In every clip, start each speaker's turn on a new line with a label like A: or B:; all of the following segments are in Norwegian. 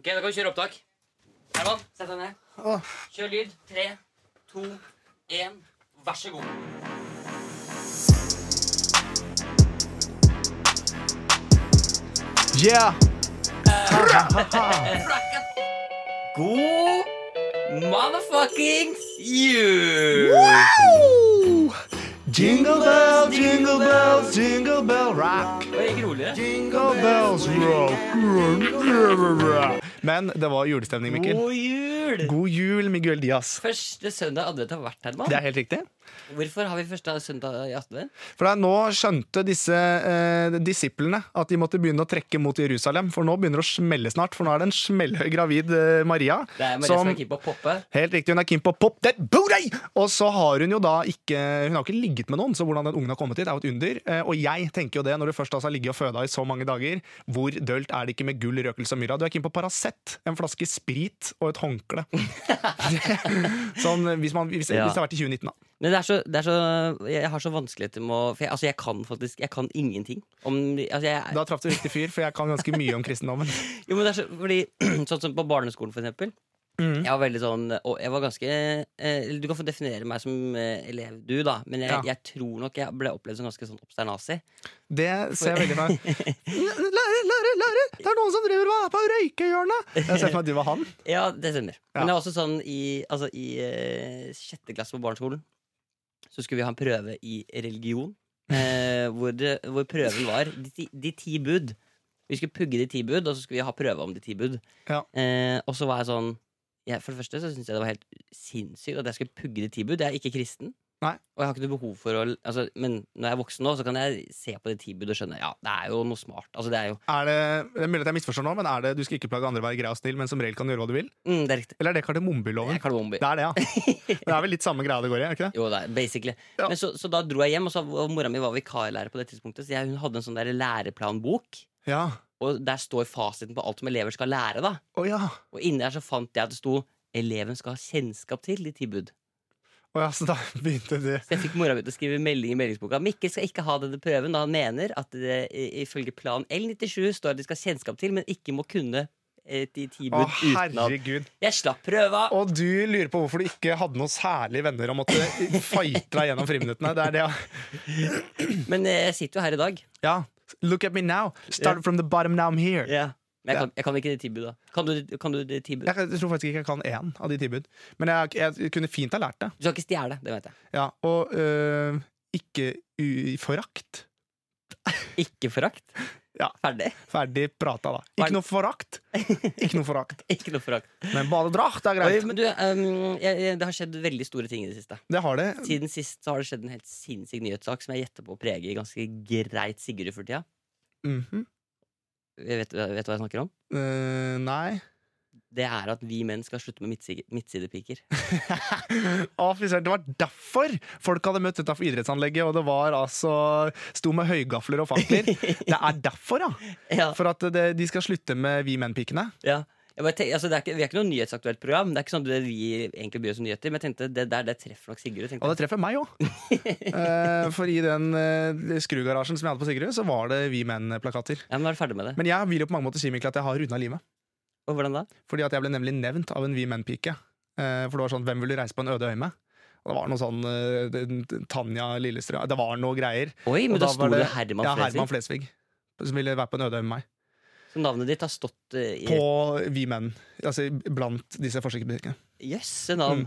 A: Ok, Da kan vi kjøre opptak. Herman, sett deg ned. Kjør lyd. Tre, to, én. Vær så god.
B: Yeah!
A: God motherfuckings jul!
B: Jingle bell, jingle bell, jingle bell rock.
A: Det gikk roligere.
B: Jingle bells rock. Men det var julestemning, Mikkel.
A: God jul!
B: God jul, Miguel Diaz.
A: Første søndag advent har vært, Herman.
B: Det er helt riktig.
A: Hvorfor har vi første søndag i advent?
B: For da nå skjønte disse eh, disiplene at de måtte begynne å trekke mot Jerusalem. For nå begynner det å smelle snart, for nå er det en smellhøy gravid eh, Maria.
A: Det er Maria som, er keen på å poppe.
B: Helt riktig, hun er keen på pop that booty! Og så har hun jo da ikke Hun har jo ikke ligget med noen, så hvordan den ungen har kommet hit, er jo et under. Eh, Og jeg tenker jo det, når du først altså har ligget og føda i så mange dager, hvor dølt er det ikke med gull, røkelse og myrra? Du er keen på Paracet, en flaske sprit og et håndkle. sånn hvis, man, hvis,
A: Ja.
B: hvis det har vært i 2019, da.
A: Men det er så, det er så, jeg har så vanskeligheter med å For jeg, altså jeg kan faktisk Jeg kan ingenting. Om, altså jeg,
B: Da traff du riktig fyr, for jeg kan ganske mye om kristendommen.
A: jo, men det er så, fordi, sånn som på barneskolen, for eksempel. Jeg var veldig sånn og jeg var ganske, eh, eller Du kan få definere meg som eh, elev, du, da. Men jeg,
B: Ja.
A: jeg tror nok jeg ble opplevd som ganske sånn obsternasi.
B: Det ser jeg veldig for meg. Lærer, lærer, lærer! Det er noen som driver og er på røykehjørnet! Jeg ser for meg at du var han.
A: Ja, det stemmer.
B: Ja.
A: Men det er også sånn i, altså, i eh, sjette klasse på barneskolen så skulle vi ha en prøve i religion. Eh, hvor, det, hvor prøven var de, ti- de ti bud. Vi skulle pugge de ti bud, og så skulle vi ha prøve om de ti bud.
B: Ja.
A: Eh, og så var jeg sånn jeg, For det første så syntes jeg det var helt sinnssykt at jeg skulle pugge de ti bud. Jeg er ikke kristen.
B: Nei.
A: Og jeg har ikke noe behov for å altså, Men når jeg er voksen nå, så kan jeg se på de ti bud og skjønne ja, det er jo noe smart. Altså, det er jo
B: Er det, det er mulig at jeg misforstår nå, men er det du skal ikke plage andre, være grei og snill, men som regel kan du gjøre hva du vil?
A: mm, Det er riktig.
B: Eller er det kardemommebyloven?
A: Jeg kaller det ombi.
B: Det er det, ja. Men Det er vel litt samme greia det går i? er det ikke det?
A: Jo, det er basically.
B: Ja.
A: Men så, så da dro jeg hjem, og så var mora mi var vikarlærer på det tidspunktet. Så jeg, hun hadde en sånn der læreplanbok,
B: Ja.
A: og der står fasiten på alt som elever skal lære. da
B: Å ja.
A: Og inni der så fant jeg at det sto 'Eleven skal ha kjennskap til ditt tilbud'.
B: Å ja, så da begynte det
A: Så jeg fikk mora mi til å skrive melding i meldingsboka. Mikkel skal ikke ha denne prøven, da han mener at det i- ifølge plan L97 står at de skal ha kjennskap til, men ikke må kunne eh, de
B: Å,
A: tilbud utenat.
B: herregud.
A: Jeg slapp prøva!
B: Og du lurer på hvorfor du ikke hadde noen særlige venner og måtte fighte deg gjennom friminuttene. Det er det, ja.
A: Men eh, jeg sitter jo her i dag.
B: ja. Look at me now. Started from the bottom, now I'm here.
A: Men jeg kan, jeg kan ikke det tilbudet. Kan du, kan du det tilbudet?
B: Jeg tror faktisk ikke jeg kan én av de tilbud, men jeg, jeg kunne fint ha lært det.
A: Du skal ikke stjele, det vet jeg.
B: Ja, Og øh, ikke u forakt.
A: Ikke forakt.
B: Ja.
A: Ferdig.
B: Ferdig prata, da.
A: Hva er-
B: Ikke noe forakt. Ikke noe forakt.
A: Ikke noe forakt.
B: Men badedrakt er
A: Oi,
B: greit.
A: men du, ehm, jeg, jeg, det har skjedd veldig store ting i det siste.
B: Det har det.
A: Siden sist så har det skjedd en helt sinnssyk nyhetssak som jeg gjetter på å prege ganske greit Sigurd for tida.
B: Mhm.
A: Jeg Vet, vet du hva jeg snakker om?
B: Eh, nei.
A: Det er at vi menn skal slutte med midtside, midtsidepiker.
B: Å, fy søren, det var derfor folk hadde møtt utenfor idrettsanlegget, og det var altså Sto med høygafler og fakler. Det er derfor, ja!
A: Ja,
B: For at det, de skal slutte med Vi menn-pikene.
A: ja. Jeg bare tenk, altså det er ikke, vi er ikke noe nyhetsaktuelt program. Det er ikke sånn det vi egentlig bryr oss om nyheter. Men jeg tenkte det der det treffer nok Sigurd.
B: Og
A: tenkte jeg.
B: det treffer meg òg. for i den eh, skrugarasjen som jeg hadde på Sigrud, så var det Vi menn-plakater.
A: Ja, men da er du ferdig med det.
B: Men jeg vil jo på mange måter si Mikkel, at jeg har runda livet.
A: Og hvordan da?
B: Fordi at jeg ble nemlig nevnt av en Vi menn-pike. Eh, for det var sånn 'Hvem vil du reise på en øde øy med?' Og det var noe sånn eh, det- det- Tanja Lillestrøm Det var noe greier.
A: Oi, men da,
B: Og da
A: sto
B: var
A: det,
B: det-
A: Herman
B: ja,
A: Flesvig.
B: Herman Flesvig. Som ville være på en øde øy med meg.
A: Så navnet ditt har stått eh, i
B: På Vi menn. Altså blant disse forsøksbutikkene.
A: Jøsse navn.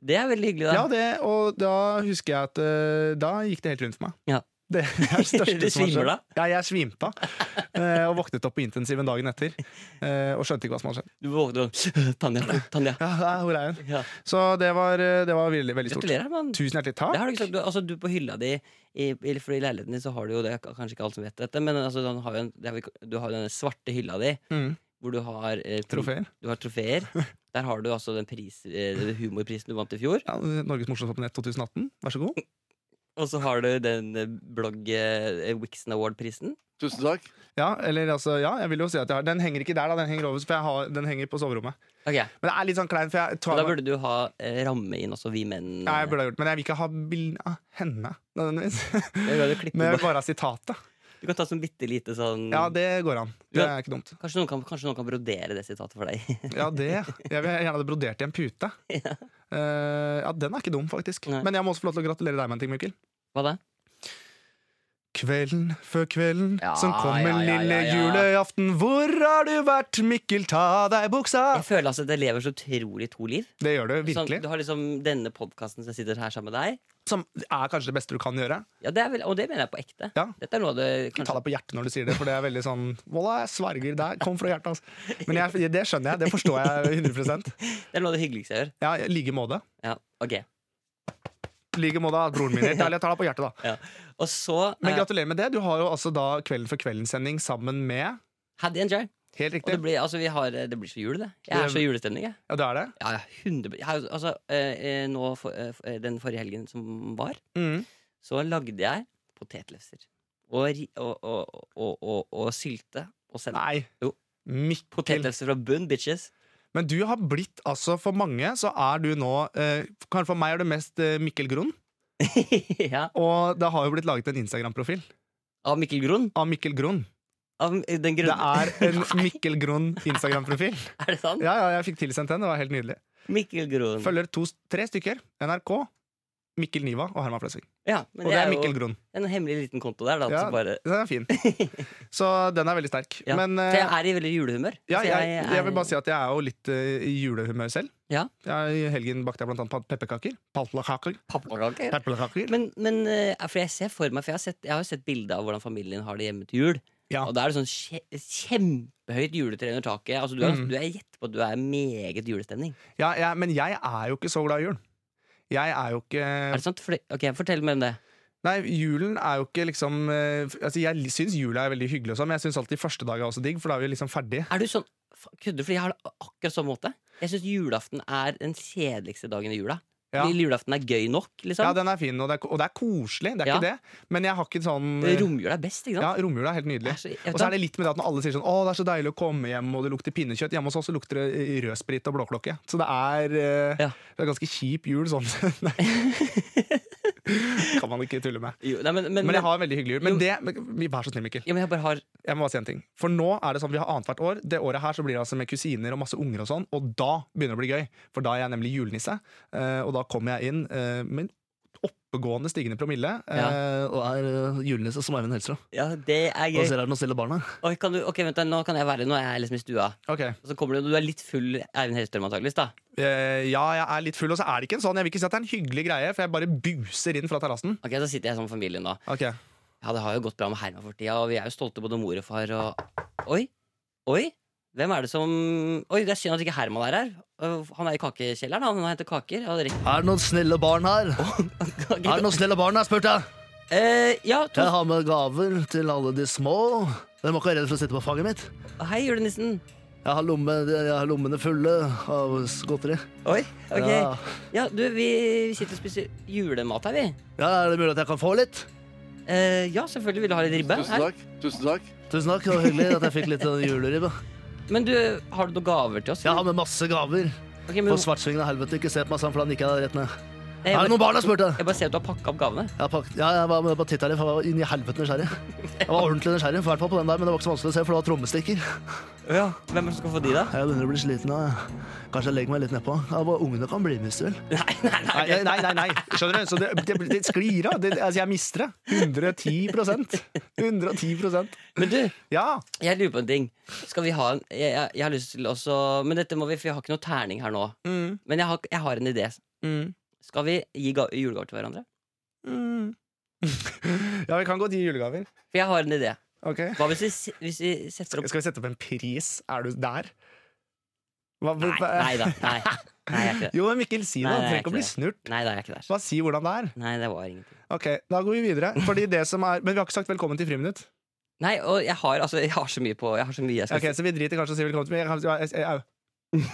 A: Det er veldig hyggelig, da.
B: Mm. Ja, det, og da husker jeg at eh, da gikk det helt rundt for meg.
A: Ja.
B: Det er det største
A: Du
B: som har
A: svimer
B: skjedd.
A: da?
B: Ja, jeg svimte av. eh, Og våknet opp på intensiven dagen etter. eh, Og skjønte ikke hva som hadde skjedd.
A: Du våkner sånn Tanja. Tanja.
B: Ja, nei, hvor er hun?
A: Ja.
B: Så det var, eh, det var veldig, veldig stort.
A: Gratulerer, mann.
B: Tusen hjertelig
A: Det har du,
B: takk.
A: ikke sagt. Du, altså, du på hylla di i, i, for I leiligheten din så har du jo det er Kanskje ikke alle som vet dette, men altså, den har jo en, det har vi ikke- du har jo denne svarte hylla di
B: Mm,
A: hvor du har, eh, pri-
B: trofeer.
A: du har trofeer. Der har du altså den pris, eh, humorprisen du vant i fjor.
B: Ja, Norges morsomste på nett 2018. Vær så god.
A: Og så har du den eh, blogg eh, Wixon Award-prisen.
C: Tusen takk.
B: Ja, eller altså, ja, jeg vil jo si at jeg har Den henger ikke der, da. Den henger over, for jeg har, den henger på soverommet.
A: Ok,
B: Men det er litt sånn klein, for jeg
A: men
B: tar
A: Da burde du ha eh, ramme inn også Vi menn.
B: Nei, jeg burde ha gjort det, men jeg vil ikke ha bilde av henne. nødvendigvis.
A: Det er bra du klipper
B: Men jeg
A: bort.
B: vil bare ha sitatet.
A: Du kan ta sånn bitte lite sånn
B: Ja, det går an. Det
A: Ja.
B: er ikke dumt.
A: kanskje, noen kan, kanskje noen kan brodere det sitatet for deg.
B: Ja, det. Jeg vil gjerne ha det brodert i en pute.
A: Ja.
B: Eh, ja, den er ikke dum, faktisk.
A: Nei.
B: Men jeg må også få lov til å gratulere deg med en ting, Mikkel.
A: Hva da?
B: Kvelden før kvelden
A: Ja,
B: som kommer
A: ja, ja, ja,
B: lille
A: ja.
B: julaften. Hvor har du vært, Mikkel? Ta av deg buksa!
A: Jeg føler altså at jeg lever så utrolig to liv.
B: Det gjør du
A: Sånn,
B: virkelig.
A: du har liksom denne podkasten som jeg sitter her sammen med deg.
B: Som er kanskje det beste du kan gjøre.
A: Ja, det er vel, Og det mener jeg på ekte.
B: Ja.
A: Dette er noe av det
B: Ikke ta
A: kanskje,
B: deg på hjertet når du sier det, for det er veldig sånn Voila, jeg sverger. Det kom fra hjertet, altså. Men jeg, det skjønner jeg. Det forstår jeg 100
A: det er noe av det hyggeligste jeg gjør.
B: Ja, i like måte.
A: Ja, ok
B: I like måte at broren min er helt ærlig. Jeg tar deg på hjertet, da.
A: ja. Og så
B: Men
A: eh,
B: gratulerer med det. Du har jo altså da Kvelden for kvelden-sending sammen med
A: Haddy and Joy.
B: Helt
A: Og det
B: riktig.
A: blir, altså, vi har, det blir så jul, det. Jeg er
B: Det-
A: så i julestemning, jeg.
B: Ja, du er det?
A: Ja, ja, 100 jeg, har- altså, eh, eh, nå, for, eh, for- eh, den forrige helgen som var,
B: Mm.
A: så lagde jeg potetlefser. Og, ri- og, og, og, og, og sylte og sennep.
B: Nei.
A: Jo.
B: Mikkel.
A: Potetlefser fra bunn, bitches.
B: Men du har blitt, altså for mange, så er du nå eh, Kanskje for meg er du mest eh, Mikkel Grunn.
A: ja.
B: Og det har jo blitt laget en Instagram-profil
A: Av Mikkel Grunn.
B: av Mikkel Grunn.
A: Av den
B: Det
A: grunne.
B: er en Mikkel Grunn Instagram-profil.
A: Er, det sant?
B: Ja, ja, jeg fikk tilsendt den. Det var helt nydelig.
A: Mikkel Grunn.
B: Følger to, tre stykker. NRK, Mikkel Niva og Herman Flesvig.
A: Ja, men
B: Og det er Mikkel
A: jo
B: Grunn.
A: en hemmelig liten konto der. Da,
B: Ja.
A: som bare,
B: Den er fin. Så den er veldig sterk.
A: Ja.
B: Men eh,
A: så jeg er i veldig julehumør.
B: ja,
A: Så
B: jeg, jeg vil
A: er-
B: bare si at jeg er jo litt eh, i julehumør selv.
A: Ja.
B: Jeg, I helgen bakte jeg blant annet pepperkaker. Palplakaker.
A: pappakake.
B: Pepperkaker.
A: Men, men eh, for jeg ser for meg For jeg har sett, jeg har jo sett bilde av hvordan familien har det hjemme til jul.
B: Ja.
A: Og da er det sånn kje, kjempehøyt juletre under taket. Altså, du, er,
B: Mm.
A: du er gjett på at du er meget julestemning.
B: Ja, jeg- men jeg er jo ikke så glad i jul. Jeg er jo ikke
A: Er det sant? For det, ok, Fortell meg om det.
B: Nei, julen er jo ikke liksom eh, f- Altså, Jeg syns jula er veldig hyggelig, og sånn, men jeg syns alltid første dag er også digg, for da er vi liksom ferdig.
A: Er du sånn fa- Kødder du? Fordi jeg har det akkurat samme måte. Jeg syns julaften er den kjedeligste dagen i jula.
B: Ja.
A: Fordi Julaften er gøy nok, liksom.
B: Ja, den er fin, og det er, ko- og det er koselig, det er
A: Ja.
B: ikke det, men jeg har ikke sånn eh,
A: Romjula er best, ikke
B: Ja,
A: sant?
B: Romjula er helt nydelig.
A: Jeg er så- jeg vet
B: Og så
A: da-
B: er det litt med det at når alle sier sånn 'Å, det er så deilig å komme hjem, og det lukter pinnekjøtt'. Hjemme hos oss så lukter det eh, rødsprit og blåklokke. Så det er, eh,
A: Ja.
B: det er ganske kjip jul sånn. Nei. kan man ikke tulle med.
A: Jo, nei, men, men,
B: Men
A: men,
B: jeg har en veldig hyggelig jul. Men det, men, vær så snill, Mikkel.
A: ja, men jeg bare har
B: Jeg må bare si en ting. For nå er det sånn, vi har annethvert år. Det året her så blir det altså med kusiner og masse unger og sånn, og da begynner det å bli gøy. For da er jeg nemlig julenisse, eh, og da kommer jeg inn eh, med oppegående stigende promille. eh, Og er eh, julenisse som Eivind Helstrøm.
A: Ja, det er gøy.
B: ser her nå stille barna.
A: Oi, kan du, ok, vent da, Nå kan jeg være Nå er jeg liksom i stua.
B: Ok.
A: Og så kommer du, du er litt full Eivind Hellstrøm antakeligvis, da.
B: Eh, ja, jeg er litt full, og så er det ikke en sånn. Jeg vil ikke si at det er en hyggelig greie, for jeg bare buser inn fra terrassen.
A: Ok, Så sitter jeg sammen med familien nå.
B: Ok.
A: Ja, det har jo gått bra med Herman for tida, og vi er jo stolte både mor og far og Oi! Oi! Hvem er det som Oi, det er synd at ikke Herman er her. Øh, Han er i kakekjelleren, han, og henter kaker. Ja, det rekker-
C: Er det noen snille barn her?
A: Ok,
C: Er det noen snille barn her, spurte jeg.
A: eh, ja, to...
C: Jeg har med gaver til alle de små. Dere må ikke være redd for å sitte på fanget mitt.
A: Hei, julenissen.
C: Jeg har, lomme, jeg har lommene fulle av s- godteri.
A: Oi, ok. Ja,
C: Ja.
A: du, vi, vi sitter og spiser julemat her, vi.
C: Ja, Er det mulig at jeg kan få litt?
A: Eh, ja, selvfølgelig vil du ha litt ribbe.
D: Tusen
A: Her.
D: takk. Tusen takk.
C: Tusen takk, det var hyggelig at jeg fikk litt av juleribba.
A: Men du, har du noen gaver til oss?
C: Jeg har med masse gaver.
A: Ok, men,
C: På svartsvingen av helvete, ikke se på meg sånn, for da nikker jeg rett ned.
A: Nei,
C: Er
A: jeg,
C: det noen barn her, spurte jeg.
A: jeg bare ser at du har pakka opp gavene.
C: Jeg har pakket- Ja, jeg var med på titta litt, for jeg var inni helvete nysgjerrig. Jeg var ordentlig nysgjerrig, i hvert fall på den der, men det var ikke så vanskelig å se, for det var trommestikker.
A: Ja, Hvem er det som skal få de, da?
C: Jeg begynner å bli sliten av det. Kanskje jeg legger meg litt nedpå. Ja, bare Ungene kan bli med, hvis du vil.
A: Nei, nei, nei.
B: Nei, nei, nei. nei, nei. Skjønner du? Så det, det, det sklir av. Det, altså, jeg mister det. 110 110
A: Men du,
B: Ja.
A: jeg lurer på en ting. Skal vi ha en Jeg, jeg, jeg har lyst til også Men dette må vi, for vi har ikke noe terning her nå.
B: Mm,
A: Men jeg har, jeg har en idé.
B: mm.
A: Skal vi gi ga, julegaver til hverandre? Mm.
B: ja, vi kan godt gi julegaver.
A: For jeg har en idé.
B: Ok
A: Hva hvis vi, se- hvis vi setter opp
B: Skal vi sette opp en pris? Er du der? Hva,
A: Nei, nei da. Nei, nei jeg er ikke det.
B: Jo, men Mikkel, si det.
A: Nei, nei, jeg er
B: Du trenger ikke å bli
A: ikke
B: snurt.
A: Nei, da er jeg ikke der.
B: Bare si hvordan det er.
A: Nei, det var ingenting.
B: Ok, Da går vi videre. Fordi det som er Men vi har ikke sagt velkommen til Friminutt.
A: Nei, og jeg har, altså, jeg har så mye på Jeg har så mye jeg skal
B: Ok, Så vi driter i kanskje å si velkommen til jeg, jeg, jeg, jeg,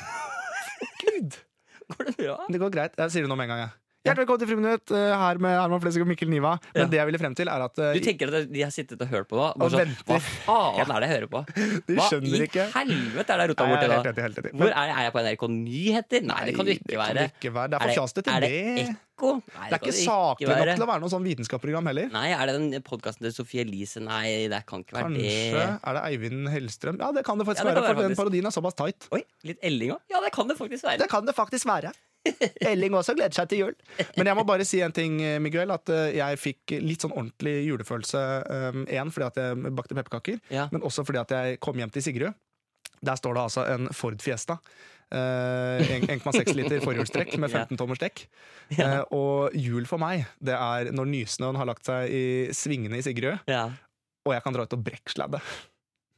B: Gud!
A: si. Går det bra?
B: Det går greit. Jeg sier det nå med en gang, jeg. Hjertelig velkommen til Friminutt, eh, her med Herman Flesvig og Mikkel Niva. Men
A: Ja.
B: det jeg ville frem til, er at eh,
A: Du tenker at de har sittet og hørt på da?
B: Og
A: Bare sånn,
B: venter.
A: hva faen er det jeg hører på?
B: de
A: Hva
B: skjønner
A: i
B: ikke.
A: helvete er det jeg rota
B: Nei, jeg
A: borti
B: er helt
A: da?
B: enig, helt enig.
A: Hvor er, jeg- er jeg på NRK Nyheter? Nei, det kan du ikke
B: Nei,
A: være.
B: det kan det ikke være. Det er
A: Er
B: for
A: det-
B: kjasete til
A: er
B: det.
A: det Ekko? Nei,
B: Det er
A: kan
B: ikke
A: det
B: saklig nok
A: være.
B: til å være noe sånn vitenskapsprogram heller.
A: Nei, er det den podkasten til Sophie Elise? Nei, det kan ikke være
B: Kanskje
A: det.
B: er det Eivind Hellstrøm? Ja, det kan det faktisk
A: Ja, det kan være,
B: være, for den
A: faktisk.
B: parodien er såpass tight.
A: Oi, litt Elling òg? Ja, det kan det faktisk være.
B: Det kan det faktisk være. Elling også gleder seg til jul. Men jeg må bare si en ting, Miguel. At eh, jeg fikk litt sånn ordentlig julefølelse. Én fordi at jeg bakte pepperkaker,
A: Ja.
B: men også fordi at jeg kom hjem til Sigrud. Der står det altså en Ford Fiesta. Eh, en- 1,6 liter forhjulstrekk med 15 tommers dekk. Eh, og jul for meg, det er når nysnøen har lagt seg i svingene i Sigrud,
A: Ja.
B: og jeg kan dra ut og brekksladde.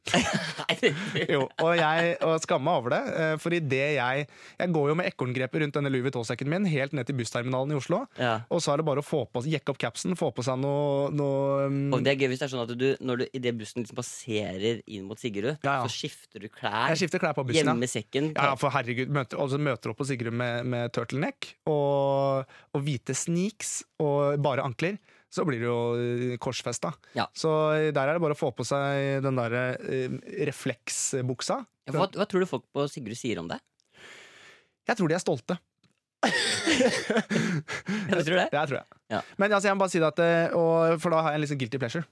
A: Nei, det-
B: Jo, og jeg og skamma over det. eh, For i det jeg Jeg går jo med ekorngrepet rundt denne Louis Vuitton-sekken min helt ned til bussterminalen i Oslo.
A: ja.
B: Og så er det bare å få på, jekke opp capsen, få på seg noe, noe um,
A: Og det er gøy hvis det er sånn at du, når du idet bussen liksom passerer inn mot Sigrud,
B: Ja, ja.
A: så skifter du klær.
B: Jeg skifter klær på bussen,
A: Gjemme
B: ja.
A: sekken.
B: Ja, for herregud, møter, altså møter opp på Sigrud med, med turtleneck og, og hvite sneaks og bare ankler. Så blir det jo korsfesta.
A: Ja.
B: Så eh, der er det bare å få på seg den derre eh, refleksbuksa.
A: Ja, Hva, hva tror du folk på Sigrud sier om deg?
B: Jeg tror de er stolte.
A: Ja, du tror det?
B: Det tror jeg.
A: Ja.
B: Men altså, jeg må bare si det at eh, og, For da har jeg en liksom guilty pleasure.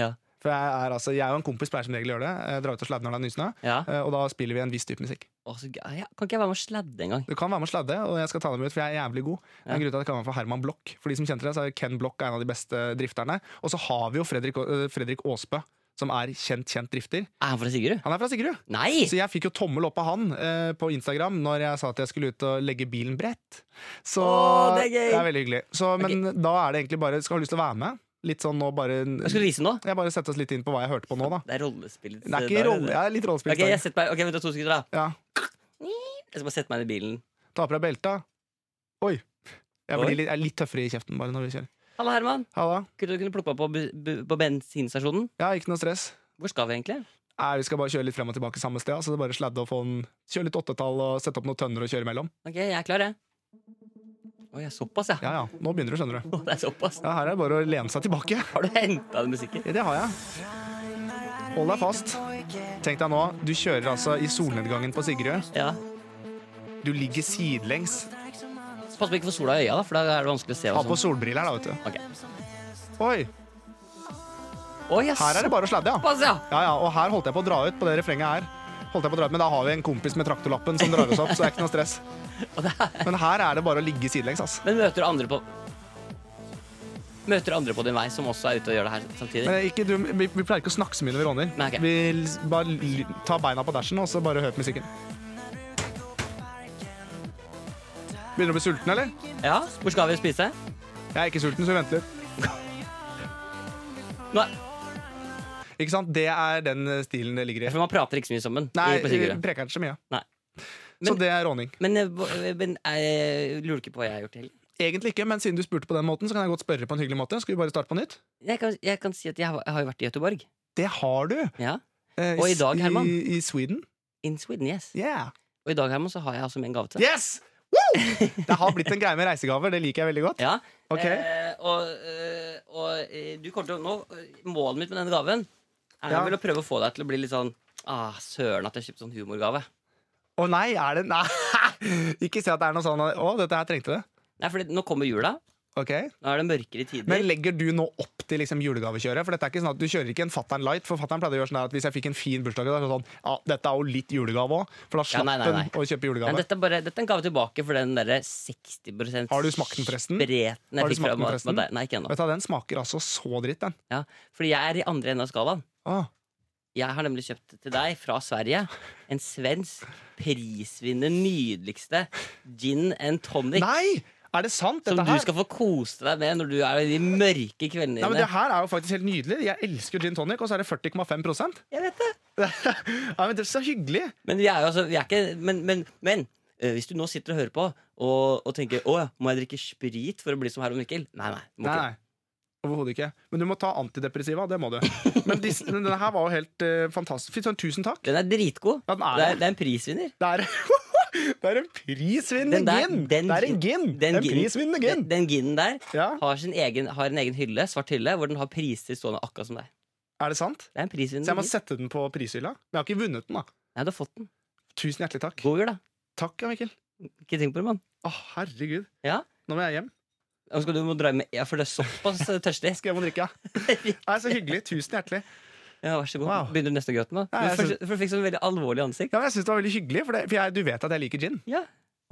A: Ja.
B: For jeg er altså, jeg og en kompis pleier som regel å gjøre det. Jeg drar ut og sladder når det er nysnø,
A: Ja.
B: eh, og da spiller vi en viss type musikk.
A: Å, så gøy. ja. Kan ikke jeg være med og sladde engang?
B: Du kan være med og sladde, og jeg skal ta dem ut, for jeg er jævlig god. Det er en
A: Ja.
B: grunn til at jeg kan være med for Herman Blokk. For de som kjente det, så er Ken Blokk er en av de beste drifterne. Og så har vi jo Fredrik, eh, Fredrik Aasbø, som er kjent, kjent drifter.
A: Er han fra Sigrud?
B: Han er fra Sigrud.
A: Nei!
B: Så jeg fikk jo tommel opp av han eh, på Instagram når jeg sa at jeg skulle ut og legge bilen bredt. Så
A: Åh, det er gøy!
B: veldig hyggelig. Så, men da er det egentlig bare Skal du ha lyst til å være med? Litt sånn nå bare
A: Hva skal du vise nå?
B: Jeg bare setter oss litt inn på hva jeg hørte på nå, da.
A: Det er rollespillets
B: Det er
A: dag,
B: ikke rolle,
A: det.
B: jeg er litt rollespill.
A: Ok, jeg setter meg Ok, vent da, to sekunder, da.
B: Ja.
A: Jeg skal bare sette meg inn i bilen.
B: Ta på deg belta. Oi. Jeg,
A: Oi.
B: blir litt, jeg er litt tøffere i kjeften bare når vi kjører.
A: Hallo, Herman.
B: Halla.
A: Kunne du kunne plukke meg på, bu- bu- på bensinstasjonen?
B: Ja, ikke noe stress.
A: Hvor skal vi egentlig?
B: Nei, Vi skal bare kjøre litt frem og tilbake samme sted. Så det er bare sladde og få en, Kjøre litt åttetall og sette opp noen tønner og kjøre imellom.
A: Ok, jeg er klar, jeg. Oi, jeg er såpass, ja.
B: Ja, ja. Nå begynner du, skjønner du.
A: Å, Det er såpass.
B: Ja, Her er det bare å lene seg tilbake.
A: Har du henta den musikken?
B: Ja, det har jeg. Hold deg fast. Tenk deg nå, du kjører altså i solnedgangen på Sigrud.
A: Ja.
B: Du ligger sidelengs.
A: Så Pass på ikke for sola i øya, da, for da er det vanskelig å se.
B: Ha
A: og
B: på
A: sånn.
B: solbriller, da, vet
A: Ok.
B: du. Oi,
A: Oi, jeg
B: her er det bare å sladde, ja.
A: såpass, ja!
B: Ja, ja, og her holdt jeg på å dra ut på det refrenget her. Holdt jeg på å dra ut, Men da har vi en kompis med traktorlappen som drar oss opp, så det er ikke noe stress. Men her er det bare å ligge sidelengs, ass.
A: Men møter du andre på Møter du andre på din vei som også er ute og gjør det her samtidig?
B: Men ikke, du, vi, vi pleier ikke å snakke så mye når vi råner.
A: Nei, ok.
B: Vi l- bare l- tar beina på dashen og så bare hører på musikken. Begynner du å bli sulten, eller?
A: Ja, Hvor skal vi spise?
B: Jeg er ikke sulten, så vi venter litt.
A: Nå er,
B: Ikke sant? Det er den eh, stilen det ligger i.
A: for Man prater ikke så mye sammen.
B: Nei, eh,
A: i- på Sigurd.
B: preker ikke så mye.
A: Nei.
B: så
A: Men-
B: det er råning.
A: Men, eh, hva- men jeg lurer ikke på hva jeg har gjort i helgen.
B: Egentlig ikke, men siden du spurte på den måten, så kan jeg godt spørre på en hyggelig måte. Skal vi bare starte på nytt?
A: Jeg kan, jeg kan si at jeg har, jeg har jo vært i Göteborg.
B: Det har du!
A: Ja.
B: eh,
A: Og i dag, Herman?
B: I, i Sweden?
A: In Sweden, yes.
B: Yeah.
A: Og i dag Herman, så har jeg altså med en gave til deg.
B: Yes! Woo! Det har blitt en greie med reisegaver. Det liker jeg veldig godt.
A: Ja.
B: Ok.
A: Eh, og eh, og eh, du kommer til å nå eh, Målet mitt med denne gaven er
B: Ja.
A: vel å prøve å få deg til å bli litt sånn Ah, søren at jeg kjøpte sånn humorgave.
B: Å nei, er det Nei! Ikke si at det er noe sånn Å, dette her trengte det.
A: Nei, for nå kommer jula.
B: Ok
A: Nå er det mørkere tider.
B: Men legger du nå opp til liksom julegavekjøret? For dette er ikke sånn at Du kjører ikke en Fatter'n Light. For Fatter'n pleide å gjøre sånn der at hvis jeg fikk en fin bursdag, i dag, så var det sånn, ja, dette er jo litt julegave òg. For da
A: Ja,
B: slapp
A: nei, nei, nei.
B: hun å kjøpe
A: Nei,
B: julegave.
A: dette, er bare, dette er en gave tilbake for den derre 60
B: Har du smakt den forresten?
A: spreten
B: Har
A: jeg fikk fra
B: du smakt den forresten?
A: Madei- Nei, ikke ennå.
B: Vet du, hva, Den smaker altså så dritt, den.
A: Ja, fordi jeg er i andre enden av skalaen.
B: Åh,
A: Jeg har nemlig kjøpt til deg, fra Sverige, en svensk prisvinner nydeligste gin and tonic.
B: Nei! Er det sant,
A: som
B: dette
A: du
B: her?
A: skal få kose deg med når du er i de mørke kveldene
B: Nei, men
A: dine.
B: Det her er jo faktisk helt nydelig. Jeg elsker gin tonic, og så er det 40,5
A: Jeg vet det.
B: Nei, men Det er så hyggelig!
A: Men vi er jo altså, vi er ikke Men, men, men eh, hvis du nå sitter og hører på og, og tenker å ja, må jeg drikke sprit for å bli som Herman Mikkel? Nei, nei. Må
B: Nei,
A: ikke.
B: nei. Overhodet ikke. Men du må ta antidepressiva. Det må du. Men disse- men denne her var jo helt eh, fantastisk. Fy søren, tusen takk!
A: Den er dritgod.
B: Ja, den er
A: det,
B: det.
A: er, det er en prisvinner.
B: Det er Det er en prisvinnende
A: Den der-
B: gin!
A: den
B: det er en gin!
A: gin-
B: Det er
A: den
B: en
A: gin-
B: prisvinnende gin!
A: Den, den ginen der
B: Ja.
A: har, sin egen, har en egen hylle, svart hylle, hvor den har priser stående akkurat som deg.
B: Er det sant?
A: Det er en
B: Så jeg må
A: prisvinnende gin.
B: sette den på prishylla? Men jeg har ikke vunnet den, da.
A: Nei, du har fått den.
B: Tusen hjertelig takk.
A: God jul, da.
B: Takk, ja, Mikkel.
A: Ikke tenk på det, mann.
B: Å, herregud.
A: Ja.
B: Nå må jeg hjem.
A: Og skal du må dra med Ja, for det er såpass eh, tørstig.
B: Skal jeg hjem og drikke? ja. Nei, så hyggelig. Tusen hjertelig.
A: Ja, vær så god.
B: Wow.
A: Begynner du nesten å gråte nå?
B: Nei,
A: Men
B: jeg
A: først, for du fikk sånn veldig alvorlig ansikt.
B: Ja, men jeg synes det var veldig hyggelig, for, det, for jeg, du vet at jeg liker gin.
A: Ja,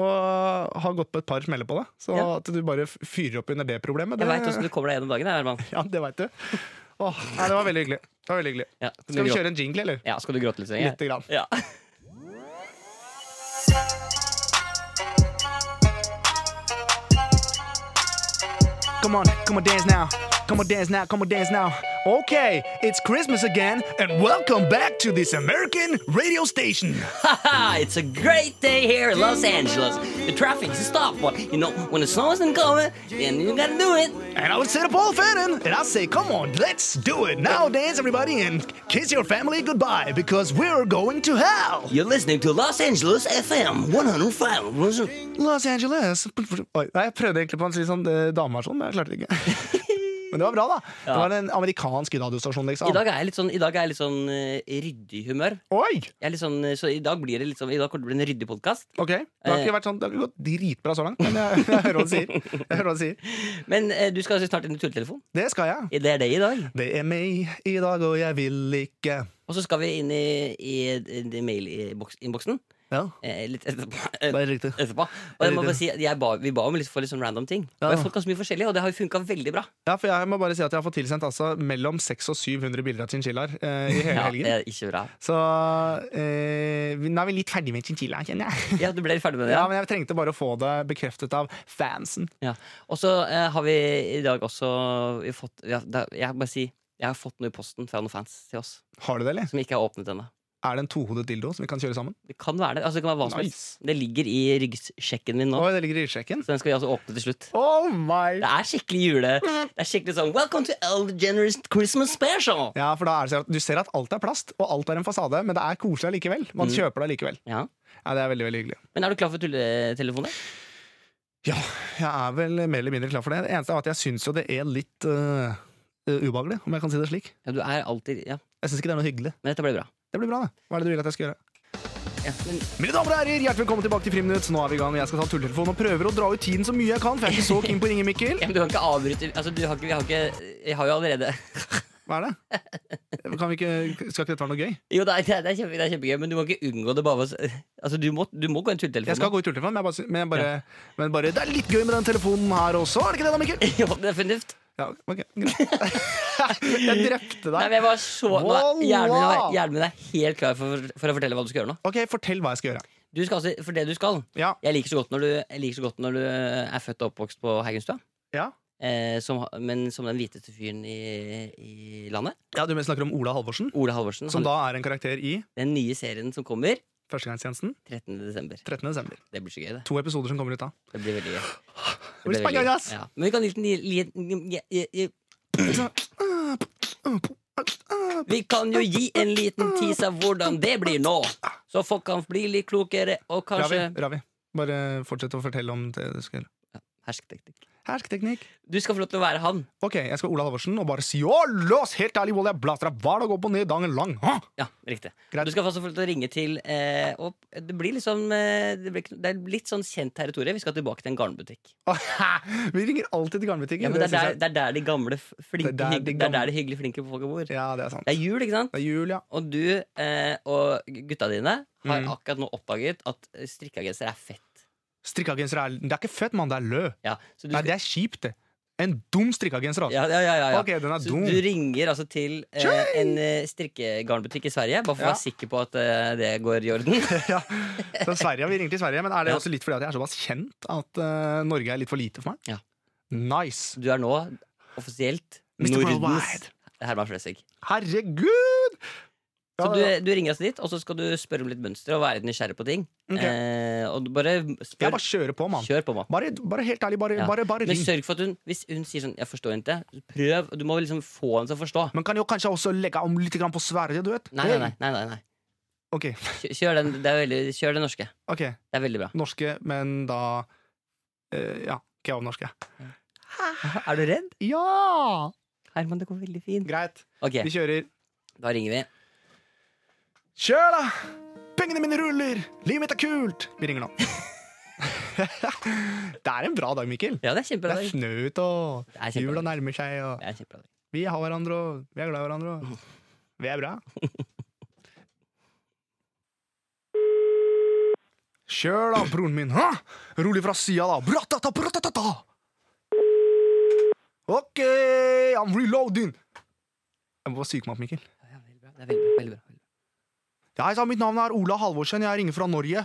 B: Og har gått på et par smeller på det. Så
A: Ja.
B: at du bare f- fyrer opp under det problemet,
A: Jeg
B: det,
A: veit åssen du kommer deg gjennom dagen. Jeg, Herman.
B: ja, det veit du. Åh, nei, det var veldig hyggelig. Det var veldig hyggelig.
A: Ja, skal,
B: Skal
A: du
B: vi
A: gråte?
B: kjøre en jingle, eller?
A: Ja, skal du gråte litt? Senge?
B: Lite grann.
A: Ja.
B: Come on, come on, dance now. Come on, dance now. Come on, dance now. Okay, it's Christmas again, and welcome back to this American radio station.
A: Haha, it's a great day here in Los Angeles. The traffic's stopped, but you know, when the snow isn't coming, then you gotta do it.
B: And I would say to Paul Fannin, and I say, come on, let's do it. Now dance, everybody, and kiss your family goodbye, because we're going to hell.
A: You're listening to Los Angeles FM 105.
B: Los Angeles Oi, nei, Jeg prøvde egentlig på en litt sånn eh, dameversjon, men jeg klarte det ikke. Men det var bra, da. Det var en amerikansk radiostasjon, liksom.
A: I dag er jeg litt sånn, i dag er jeg litt sånn eh, ryddig humør.
B: Oi!
A: Jeg er litt sånn, eh, så I dag blir det litt sånn, i dag kommer det til å bli en ryddig podkast.
B: Ok, Det har
A: Eh.
B: ikke vært sånn, det har ikke gått dritbra så langt, men jeg, jeg hører hva du sier. Jeg hører hva du sier.
A: Men eh, du skal altså snart inn i tulletelefonen.
B: Det skal jeg.
A: Det er det i dag.
B: Det er meg i dag, og jeg vil ikke
A: Og så skal vi inn i, i, i mailinnboksen
C: Ja,
A: eh, litt etterpå.
C: det er riktig.
A: etterpå. Og jeg må bare si, at jeg ba, Vi ba om litt, for litt sånn random ting. Og jeg har fått ganske mye forskjellig, og det har jo funka veldig bra.
B: Ja, for jeg må bare si at jeg har fått tilsendt altså mellom 600 og 700 bilder av chinchillaer eh, i hele
A: Ja,
B: helgen.
A: det er ikke bra
B: Så eh, vi- nå er vi litt ferdig med chinchillaen, kjenner jeg.
A: Ja, du ble ferdig med det?
B: Ja,
A: Ja.
B: men jeg trengte bare å få det bekreftet av fansen.
A: Ja. Og så eh, har vi i dag også vi har fått ja, da, Jeg må bare si jeg har fått noe i posten fra noen fans til oss
B: Har du det, eller?
A: som ikke har åpnet ennå.
B: Er det en tohodet dildo som vi kan kjøre sammen?
A: Det kan være det. Altså, det kan være hva som helst.
B: Nice.
A: Det ligger i ryggsjekken min nå,
B: Oi, det ligger i ryggsekken.
A: så den skal vi altså åpne til slutt.
B: Oh my
A: Det er skikkelig jule. Det er skikkelig sånn Welcome to Elder Generous Christmas Special!
B: ja, for da er det sånn at Du ser at alt er plast, og alt er en fasade, men det er koselig likevel. Man
C: Mm.
B: kjøper det likevel.
A: Ja.
B: Ja, Det er veldig veldig hyggelig.
A: Men er du klar for tulletelefoner?
B: Ja, jeg er vel mer eller mindre klar for det. Det eneste er at jeg syns jo det er litt øh, øh, ubehagelig, om jeg kan si det slik.
A: Ja, du er alltid Ja.
B: Jeg syns ikke det er noe hyggelig.
A: Men dette ble bra.
B: Det blir bra, det. Hva er det du vil at jeg skal gjøre?
A: Ja, men
B: Mine damer og herrer, hjertelig velkommen tilbake til Friminutt. Nå er vi i gang. Jeg skal ta tulltelefonen og prøver å dra ut tiden så mye jeg kan, for jeg er ikke så keen på å ringe Mikkel.
A: ja, men du kan ikke avbryte Altså, du har ikke, vi har ikke Jeg har jo allerede
B: Hva er det? Kan vi ikke, skal ikke dette være noe gøy?
A: Jo, det er, det er, kjempe, det er kjempegøy, men du må ikke unngå det. Bare, ved å s- altså, du, må, du må gå en tulletelefon.
B: Jeg skal gå i turtelefon, men, jeg bare, sy- men, jeg bare, men bare, det er litt gøy med den telefonen her også, er det ikke det da, Mikkel?
A: Ja, definitivt.
B: Ja, ok, greit. Jeg drepte
A: Nei,
B: deg.
A: men jeg var så nå er,
B: Voila!
A: hjernen, min er, hjernen min er helt klar for, for å fortelle hva du skal gjøre nå.
B: Ok, fortell hva jeg skal gjøre.
A: Du skal altså, For det du skal
B: Ja,
A: Jeg liker så godt når du, jeg liker så godt når du er født og oppvokst på Haugenstua.
B: ja.
A: Eh, som, ha- men som den hviteste fyren i, i landet.
B: ja du mener snakker om Ola Halvorsen,
A: Ole Halvorsen.
B: som
A: Han,
B: da er en karakter i
A: den nye serien som kommer
B: Førstegangstjenesten
A: 13. desember.
B: 13. desember.
A: Det blir så gøy, det.
B: To episoder som kommer ut da.
A: Det blir veldig gøy. Det
B: blir
A: blir veldig
B: spennende,
A: gøy.
B: ass.
A: Ja. Men vi kan gi- gi- gi- gi- gi- Vi kan jo gi en liten tease av hvordan det blir nå, så folk kan bli litt klokere og
B: Ravi,
A: kanskje
B: Ravi, bare fortsett å fortelle om det du skal gjøre.
A: Hersketeknikk.
B: Hersketeknikk.
A: Du skal få lov til å være han.
B: Ok, jeg skal Ola Halvorsen og bare si «Åh, lås helt ærlig, Ola, jeg blaster av hver dag opp og ned dagen lang!» Hå?
A: Ja, riktig.
B: Greit.
A: Du skal også få lov til å ringe til eh, og Det blir liksom eh, det, blir, ikke- det er litt sånn kjent territorium. Vi skal tilbake til en garnbutikk.
B: Vi ringer alltid til garnbutikken.
A: Ja, men det,
B: synes
A: er der,
B: jeg-
A: det er der de gamle f- flinke,
B: Det er der
A: hygg-
B: de
A: det er
B: gamle-
A: der de hyggelige, flinke folka bor. Det
B: Ja, det er sant.
A: er jul, ikke sant?
B: Det er jul, ja.
A: Og du eh, og gutta dine har
B: Mm.
A: akkurat nå oppdaget at strikkeagenser er fett.
B: Strikkeagenser er Det er ikke fett, mann, det er lø.
A: Ja, så du skal,
B: Nei, det er kjipt, det. En dum strikkeagenser, altså.
A: ja, ja, ja, ja, ja.
B: Ok, den er
A: Så
B: dum.
A: du ringer altså til eh,
B: Tjøy!
A: en eh, strikkegarnbutikk i Sverige, bare for å
B: Ja.
A: være sikker på at eh, det går i orden.
B: Ja. Så Sverige, vi ringer til Sverige, men er det
A: Ja.
B: også litt fordi at jeg er såpass kjent at eh, Norge er litt for lite for meg?
A: Ja.
B: Nice!
A: Du er nå offisielt
B: Mr.
A: Nordens
B: Worldwide.
A: Herman Flesvig.
B: Herregud!
A: Så
B: Ja,
A: du,
B: ja.
A: du ringer altså dit, og så skal du spørre om litt mønster og være litt nysgjerrig på ting.
B: Ok.
A: Eh, og du bare
B: Jeg
A: spør.
B: bare kjører på, mann.
A: Kjør på, mann.
B: Bare, bare helt ærlig, bare,
A: Ja.
B: bare, bare
A: Men
B: ring.
A: sørg for at hun Hvis hun sier sånn 'jeg forstår ikke', prøv. Du må liksom få henne til å forstå.
B: Men kan jo kanskje også legge om litt grann på Sverige, du vet.
A: Nei, nei, nei. nei, nei, nei.
B: Ok,
A: Kjør- Kjør, den, det er veldig, kjør det norske.
B: ok.
A: Det er veldig bra.
B: Norske, men da eh, Ja, kebabnorske.
A: Er du redd?
B: Ja!
A: Herman, det går veldig fint.
B: Greit.
A: Ok,
B: Vi kjører.
A: da ringer vi.
B: Kjør, da! Pengene mine ruller! Livet mitt er kult! Vi ringer nå. det er en bra dag, Mikkel.
A: Ja, det er
B: Det
A: kjempebra.
B: er
A: dag.
B: fnaut, og
A: Det er kjempebra.
B: jula nærmer seg, og
A: Det er kjempebra. dag.
B: vi har hverandre, og vi er glad i hverandre, og vi er bra. Kjør, da, broren min. Hæ? Rolig fra sida, da. Bratata, bratata. OK, I'm reloading. Jeg må bare psyke meg opp, Mikkel.
A: Ja, ja, veldig bra. Det er veldig bra. Veldig bra. veldig bra.
B: Hei sann, mitt navn er Ola Halvorsen. Jeg ringer fra Norge.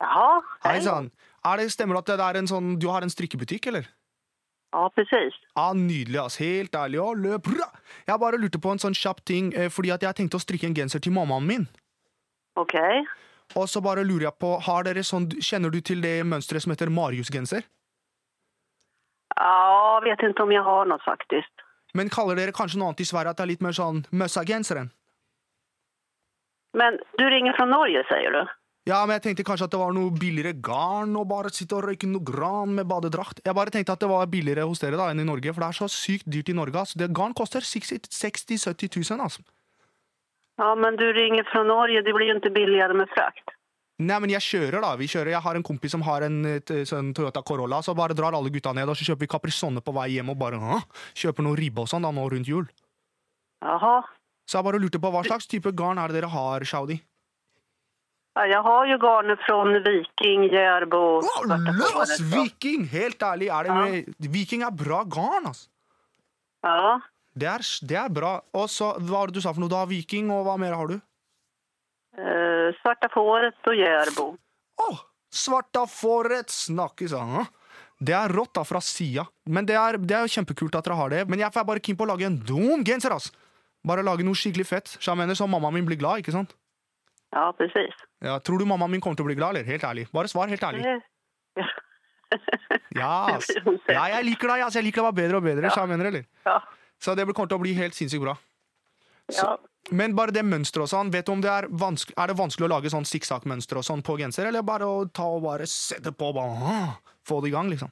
D: Ja,
B: Hei sann. Er det, stemmer det at det er en sånn, du har en strikkebutikk, eller?
D: Ja, precis.
B: Ja, Nydelig, ass. Helt ærlig. Og løp, bra. Jeg bare lurte på en sånn kjapp ting, eh, fordi at jeg tenkte å strikke en genser til mammaen min.
D: Okej.
B: Og så bare lurer jeg på, har dere sånn, Kjenner du til det mønsteret som heter Marius-genser?
D: Ja, jag vet inte om jag har något faktiskt.
B: Men kaller dere kanskje noe annet i Sverige at det er litt mer sånn møssa-genseren?
D: Men du ringer från Norge, säger du?
B: Ja, men jeg tenkte kanskje at det var noe billigere garn og bare sitte og røyke noe gran med badedrakt. Jeg bare tenkte at det var billigere hos dere da enn i Norge, for det er så sykt dyrt i Norge. Altså. Det garn koster 60 000-70 000, altså.
D: Ja, men du ringer från Norge. Det blir ju inte billigare med frakt.
B: Nei, men jeg kjører, da. Vi kjører. Jeg har en kompis som har en eh, t- sånn Toyota Corolla, så bare drar alle gutta ned, og så kjøper vi Caprisonne på vei hjem og bare Hå? kjøper noe ribbe og sånn da nå rundt jul.
D: Jaha.
B: Så jeg bare lurte på hva slags type garn er det dere har, Shaudi?
D: Ja, jag har ju garnet från Viking, Järbo och
B: Å,
D: Svarta
B: løs
D: Kåret, ja.
B: viking! Helt ærlig, er det med Viking er bra garn, altså.
D: Ja.
B: Det er, det er bra. Og så, Hva var det du sa for noe? Du har Viking, og hva mer har du?
D: Eh, svarta Fåret och Järbo.
B: Å! Svarta fåret snakkes an. Det er rått, da, fra sida. Men det er, det er jo kjempekult at dere har det. Men jeg er bare keen på å lage en dum genser, ass! Bare lage noe skikkelig fett, så jeg mener så mammaen min blir glad, ikke sant?
D: Ja, precis.
B: Ja, tror du mammaen min kommer til å bli glad, eller? Helt ærlig. Bare svar helt ærlig.
D: Det-
B: Ja, ass. ja jeg liker deg, ass. Jeg liker deg bare bedre og bedre, så jeg mener, eller?
D: Ja.
B: Så det kommer til å bli helt sinnssykt bra.
D: Ja.
B: Men bare det mønsteret og sånn, vet du om det er vanskelig, er det vanskelig å lage sånn sikksakk-mønster og sånn på genser, eller bare å ta og bare sette på og bare ah, få det i gang, liksom?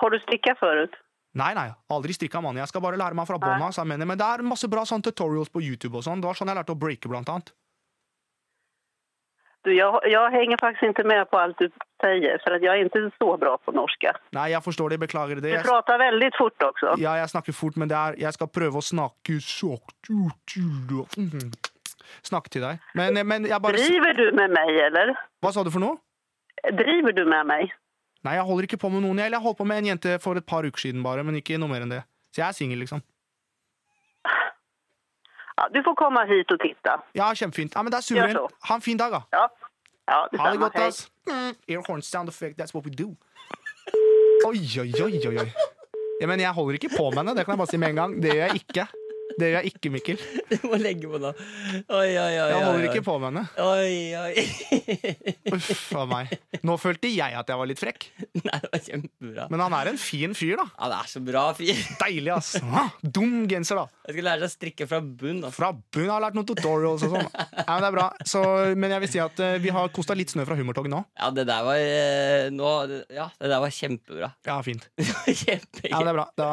D: Har du stickat förut?
B: Nei, nei, aldri strikka mann. Jeg skal bare lære meg fra bånn av, så jeg mener. Men det er masse bra sånn tutorials på YouTube og sånn. Det var sånn jeg lærte å breake, blant annet.
D: Du, jag, jag hänger faktiskt inte med på allt du säger för att jag är inte så bra på norska.
B: Nei, jeg forstår det, beklager det.
D: Du
B: Jeg,
D: pratar väldigt fort också.
B: ja, jeg snakker fort, men det er Jeg skal prøve å snakke sakte mm. Snakke til deg. Men, eh, men jeg bare
D: Driver du med mig eller?
B: Hva sa du for noe?
D: Driver du med mig?
B: Nei, jeg holder ikke på med noen. Eller jeg holdt på med en jente for et par uker siden, bare, men ikke noe mer enn det. Så jeg er singel, liksom.
D: Ja, du får komma hit och titta.
B: Ja, kjempefint. Ja, men det er
D: Gjør
B: suverent.
D: så.
B: Ha en fin dag, da.
D: Ja, ja
B: Ha det
D: detsamma.
B: godt,
D: Hej.
B: ass. Mm, Air horn sound effect, that's what we do. Oi, oi, oi, oi, oi. Ja, men jeg holder ikke på med henne, det kan jeg bare si med en gang. Det gjør jeg ikke. Det gjør jeg ikke, Mikkel.
A: Du må legge på nå. Oi, oi, oi.
B: Jeg holder
A: oi,
B: ikke på med henne.
A: Oi, oi.
B: Uff a meg. Nå følte jeg at jeg var litt frekk.
A: Nei, det var kjempebra.
B: Men han er en fin fyr, da.
A: Han er så bra fyr.
B: Deilig, ass. Ah, Dum genser, da.
A: Jeg skal lære seg å strikke fra bunn. Altså.
B: Fra bunnen har jeg lært noen tutorials og sånn. Ja, men det er bra. Så, men jeg vil si at eh, vi har kosta litt snø fra humortoget nå.
A: Ja, det der var eh, nå, Ja, det der var kjempebra.
B: Ja, fint.
A: Det var Kjempegøy.
B: Ja, men det er bra. Da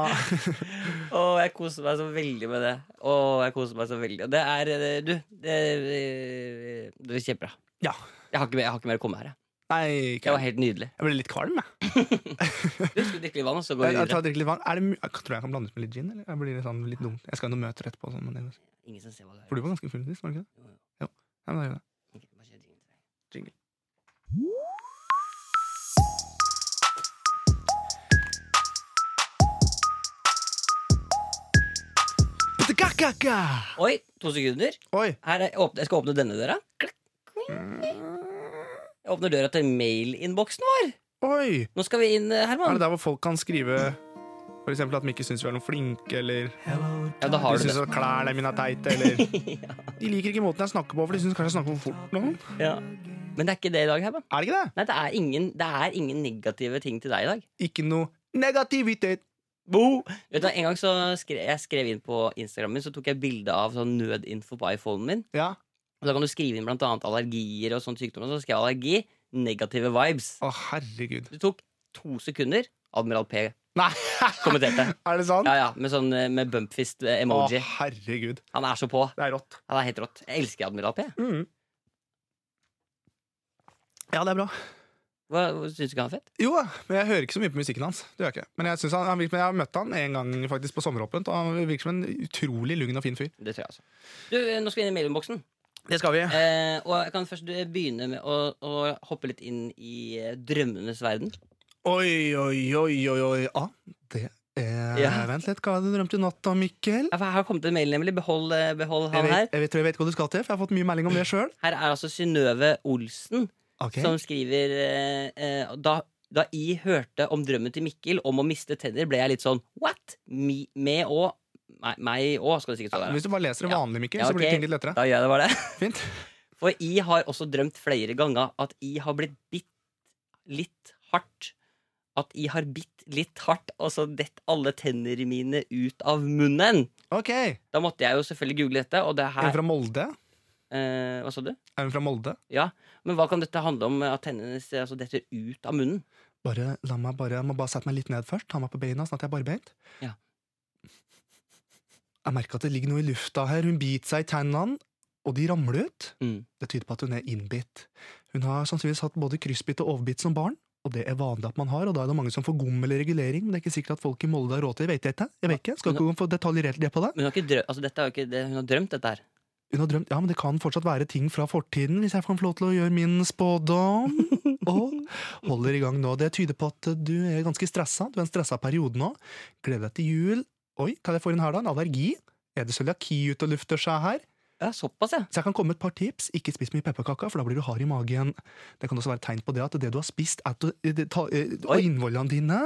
A: Og jeg koser meg så veldig med det. Og jeg koser meg så veldig Og det er eh, Du, det, eh, det var kjempebra.
B: Ja.
A: Jeg har, ikke, mer- jeg har ikke mer å komme her. Jeg.
B: Nei,
A: Det
B: ikke.
A: var helt nydelig.
B: jeg ble litt kvalm, jeg.
A: Du skulle drikke litt vann, og så går vi
B: Jeg, jeg, tar
A: videre.
B: og drikker litt vann. Er det mu- jeg tror jeg kan blandes med litt gin. Eller? Jeg blir litt, sånn, litt dum. Jeg skal ha noen møter etterpå. og Sånn, men det,
A: Ingen som ser hva det
B: for
A: er.
B: du var ganske full sist, var du ikke det? Jo. Ja, men da gjør jeg det.
A: Ok, bare kjør jingle til deg.
B: Putekakaka!
A: Oi, to sekunder.
B: Oi!
A: Her er, jeg åpner- jeg skal åpne denne døra. Klakk. Jeg åpner døra til mailinnboksen vår.
B: Oi!
A: Nå skal vi inn, eh,
B: Er
A: Herman.
B: det der hvor folk kan skrive for eksempel at de ikke syns vi er noe flinke, eller
A: Ja, da har
B: de
A: du
B: syns
A: det.
B: at klærne mine er teite, eller De liker ikke måten jeg snakker på, for de syns kanskje jeg snakker for fort. Nå.
A: Ja. Men det er ikke det i dag, Herman.
B: Er det ikke det?
A: Nei, det er ingen, det er ingen negative ting til deg i dag.
B: Ikke noe negativitet.
A: Bo! Vet du, hva, en gang så skrev, jeg skrev inn på Instagram min, så tok jeg bilde av sånn nødinfo på iPhonen min.
B: Ja.
A: Og da kan du skrive inn blant annet allergier og sånne sykdommer. Så skrev jeg allergi, negative vibes.
B: Å, herregud.
A: Det tok to sekunder. Admiral P
B: Nei,
A: kommenterte.
B: er det sant?
A: Ja, ja, med sånn eh, med
B: Å,
A: bumpfist-emoji.
B: herregud.
A: Han er så på.
B: Det er rått.
A: Han er helt rått. Jeg elsker Admiral P.
B: Ja, det er bra.
A: Hva, hva Syns du ikke han er fett?
B: Jo da, men jeg hører ikke så mye på musikken hans. Det gjør jeg ikke. Men jeg, synes han, han virker, men jeg har møtt han en gang faktisk på sommeråpent, og han virker som en utrolig lugn og fin fyr.
A: Det tror jeg altså. Du, eh, nå skal vi inn i mailinnboksen.
B: Det skal vi.
A: Eh, og jeg kan først eh, begynne med å, å hoppe litt inn i eh, drømmenes verden.
B: Oi, oi, oi, oi, oi. Ah, det er
A: Ja.
B: Vent litt, hva har du drømt i natt da, Mikkel?
A: Ja, for Her har det kommet en mail, nemlig. Behold, eh, behold
B: Jeg
A: han her.
B: vet, jeg vet, tror jeg vet hva du skal til, for jeg har fått mye melding om det sjøl.
A: Her er altså Synnøve Olsen som skriver eh, eh, da, da I hørte om drømmen til Mikkel om å miste tenner, ble jeg litt sånn what? Mi, med og Meg- Meg òg, skal det sikkert stå der.
B: Hvis du bare leser det
A: Ja.
B: vanlig, Mikkel,
A: Ja,
B: så blir
A: ok.
B: ting litt lettere.
A: Da gjør jeg det bare det.
B: Fint.
A: For I har også drømt flere ganger at I har blitt bitt litt hardt. At I har bitt litt hardt, og så dett alle tennene mine ut av munnen.
B: Ok. Er
A: Da måtte jeg jo selvfølgelig google dette, og det
B: hun
A: her
B: fra Molde?
A: eh, Hva sa du?
B: Er hun fra Molde?
A: Ja, Men hva kan dette handle om? At tennene hennes, eh, altså, detter ut av munnen?
B: Bare, la meg bare, jeg må bare sette meg litt ned først. Ta meg på beina, sånn at jeg er barbeint.
A: Ja.
B: Jeg merker at det ligger noe i lufta her. Hun biter seg i tennene, og de ramler ut.
A: Mm.
B: Det tyder på at hun er innbitt. Hun har sannsynligvis hatt både kryssbitt og overbitt som barn, og det er vanlig at man har, og da er det mange som får gommel regulering, men det er ikke sikkert at folk i Molde har råd til det, vet jeg ikke. Jeg vet ikke, skal ikke gå for detaljert det på det.
A: Men hun har, ikke drø altså, dette er jo ikke det, hun har drømt dette her.
B: Hun har drømt, ja, men det kan fortsatt være ting fra fortiden, hvis jeg kan få lov til å gjøre min spådom. Og holder i gang nå. Det tyder på at du er ganske stressa. Du er i en stressa periode nå. Gleder deg til jul. Oi, hva er det jeg får inn her, da? En allergi? Er det cøliaki ute og lufter seg her?
A: Ja, Såpass, ja.
B: Så jeg kan komme med et par tips. Ikke spis mye pepperkaker, for da blir du hard i magen. Det kan også være et tegn på det at det du har spist, er til- eh, det- ta- eh, og
A: Oi. Mm.
B: innvollene dine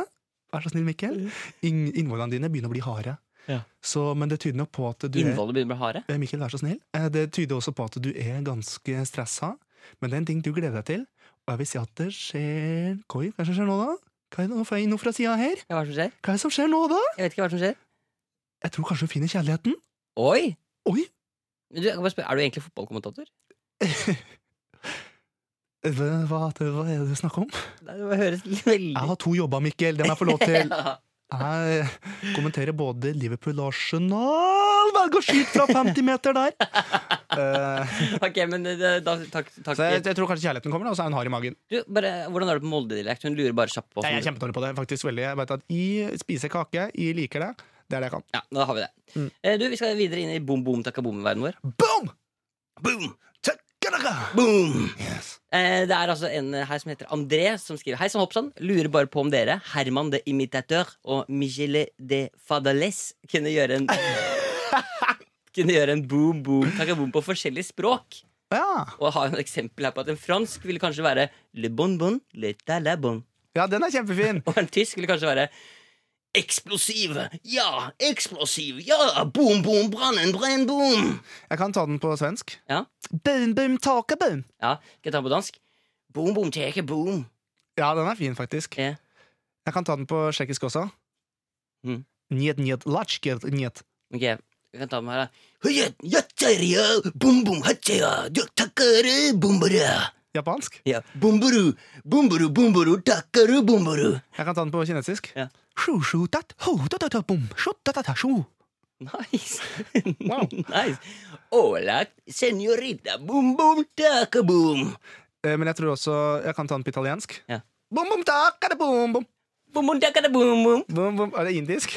B: Vær så snill, Mikkel. Inn- Innvollene dine begynner å bli harde.
A: Ja.
B: Så, men det tyder nok på at du er
A: Innholdet begynner å bli harde.
B: Eh, Mikkel, vær så snill. Eh, Det tyder også på at du er ganske stressa, men det er en ting du gleder deg til, og jeg vil si at det skjer Koi, hva er det som skjer nå, da? Hva er det nå får jeg inn noe fra sida her?
A: Ja, hva er det som skjer?
B: Hva er det som skjer nå, da?
A: Jeg vet ikke hva som skjer.
B: Jeg tror kanskje hun finner kjærligheten.
A: Oi!
B: Oi!
A: Men du, jeg kan bare spørre, Er du egentlig fotballkommentator?
B: Hva, hva, hva er det du snakker om?
A: Nei, Det høres veldig
B: Jeg har to jobber, Mikkel. Det må jeg få lov til. Jeg kommenterer både Liverpool og Arsenal. Velg å skyte fra 50 meter der! Eh,
A: Ok, men eh, da, takk, takk.
B: så jeg, jeg tror kanskje kjærligheten kommer, da, og så er hun hard i magen.
A: Du, bare, hvordan er det på Molde-dialekt? Hun lurer bare kjapt på sånn-
B: Nei, jeg er
A: oss.
B: kjempedårlig på det. faktisk veldig Jeg vet at Jeg spiser kake, jeg liker det. Det er det jeg kan.
A: Ja, da har vi det.
B: Mm.
A: Eh, Du, Vi skal videre inn i boom boom takka boom-verdenen vår.
B: Boom!
A: Boom!
B: Tjekkanaka!
A: Boom!
B: Yes.
A: Eh, Det er altså en eh, her som heter André, som skriver Hei sann, hoppsann. Lurer bare på om dere, Herman de Imitateur og Michele de Fadales, kunne gjøre en Kunne gjøre en boom boom takka boom på forskjellig språk.
B: Ja.
A: Og har et eksempel her på at en fransk ville kanskje være le bon bon, le ta la bon.
B: ja, den er kjempefin.
A: Og en tysk ville kanskje være Eksplosiv! Ja! Eksplosiv! Ja! Boom, boom, brannen, brenn, boom!
B: Jeg kan ta den på svensk.
A: Ja.
B: Boom, boom, taka, boom.
A: Ja, Skal jeg ta den på dansk? Boom, boom, teke, boom.
B: Ja, den er fin, faktisk.
A: Ja.
B: Jeg kan ta den på tsjekkisk også.
A: Mm.
B: Njet, njet, latsjket, njet.
A: Ok, vi kan ta den her, da. Høyet, jatteria, Boom, boom, hatteria, du takkere, bombere.
B: Japansk.
A: Ja. Bomburu, bomburu, bomburu, takkere, bomburu.
B: Jeg kan ta den på kinesisk.
A: Ja.
B: Sju, sju, tat, ho, ta, ta, ta, bom, sju, ta, ta, ta, sju.
A: Nice.
B: Wow.
A: nice. Hola, senorita, boom, boom, takke, boom.
B: Eh, Men jeg tror også jeg kan ta den på italiensk.
A: Ja.
B: Bom, bom, taka, da, bom, bom.
A: Boom, boom, takkere, boom, boom.
B: Bom, bom. Er det indisk?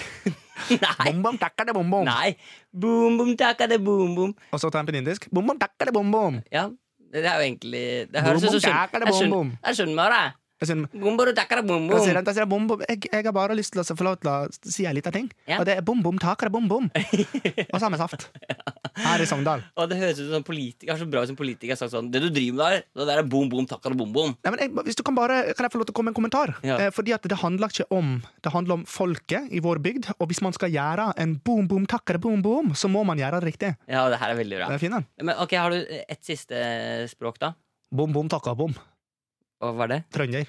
A: Nei.
B: Bom, bom, takka, da, bom, bom.
A: Nei. Boom, boom, takade, boom, boom.
B: Og så tar jeg den på indisk. Bom, bom, takka, da, bom, bom.
A: Ja, det er jo egentlig Det
B: Boom,
A: høres ut
B: boom,
A: som sunn- Jeg
B: takade, boom,
A: skjønner-
B: boom.
A: Jeg skjønner meg, da.
B: Jeg synes,
A: Boom, boom, takade, boom,
B: Da sier
A: boom.
B: han, da sier han, bom, bom. Jeg, jeg har bare lyst til å få lov til å si en liten ting.
A: Ja.
B: Og det er bom, bom, taker, bom, bom. Og samme saft. Her i Sogndal.
A: Og det høres ut som politiker, så bra som politiker har sagt sånn Det du driver med der, det der er boom, boom, takade, boom, boom.
B: Nei, men jeg, hvis du kan bare, kan jeg få lov til å komme med en kommentar?
A: Ja.
B: Eh, fordi at det handler ikke om Det handler om folket i vår bygd. Og hvis man skal gjøre en bom, bom, takker, bom, bom, så må man gjøre det riktig.
A: Ja, det her er veldig bra.
B: Den er fin, den.
A: Men ok, har du et siste eh, språk, da?
B: Bom, bom, takker, bom.
A: Og hva er det?
B: Trønder.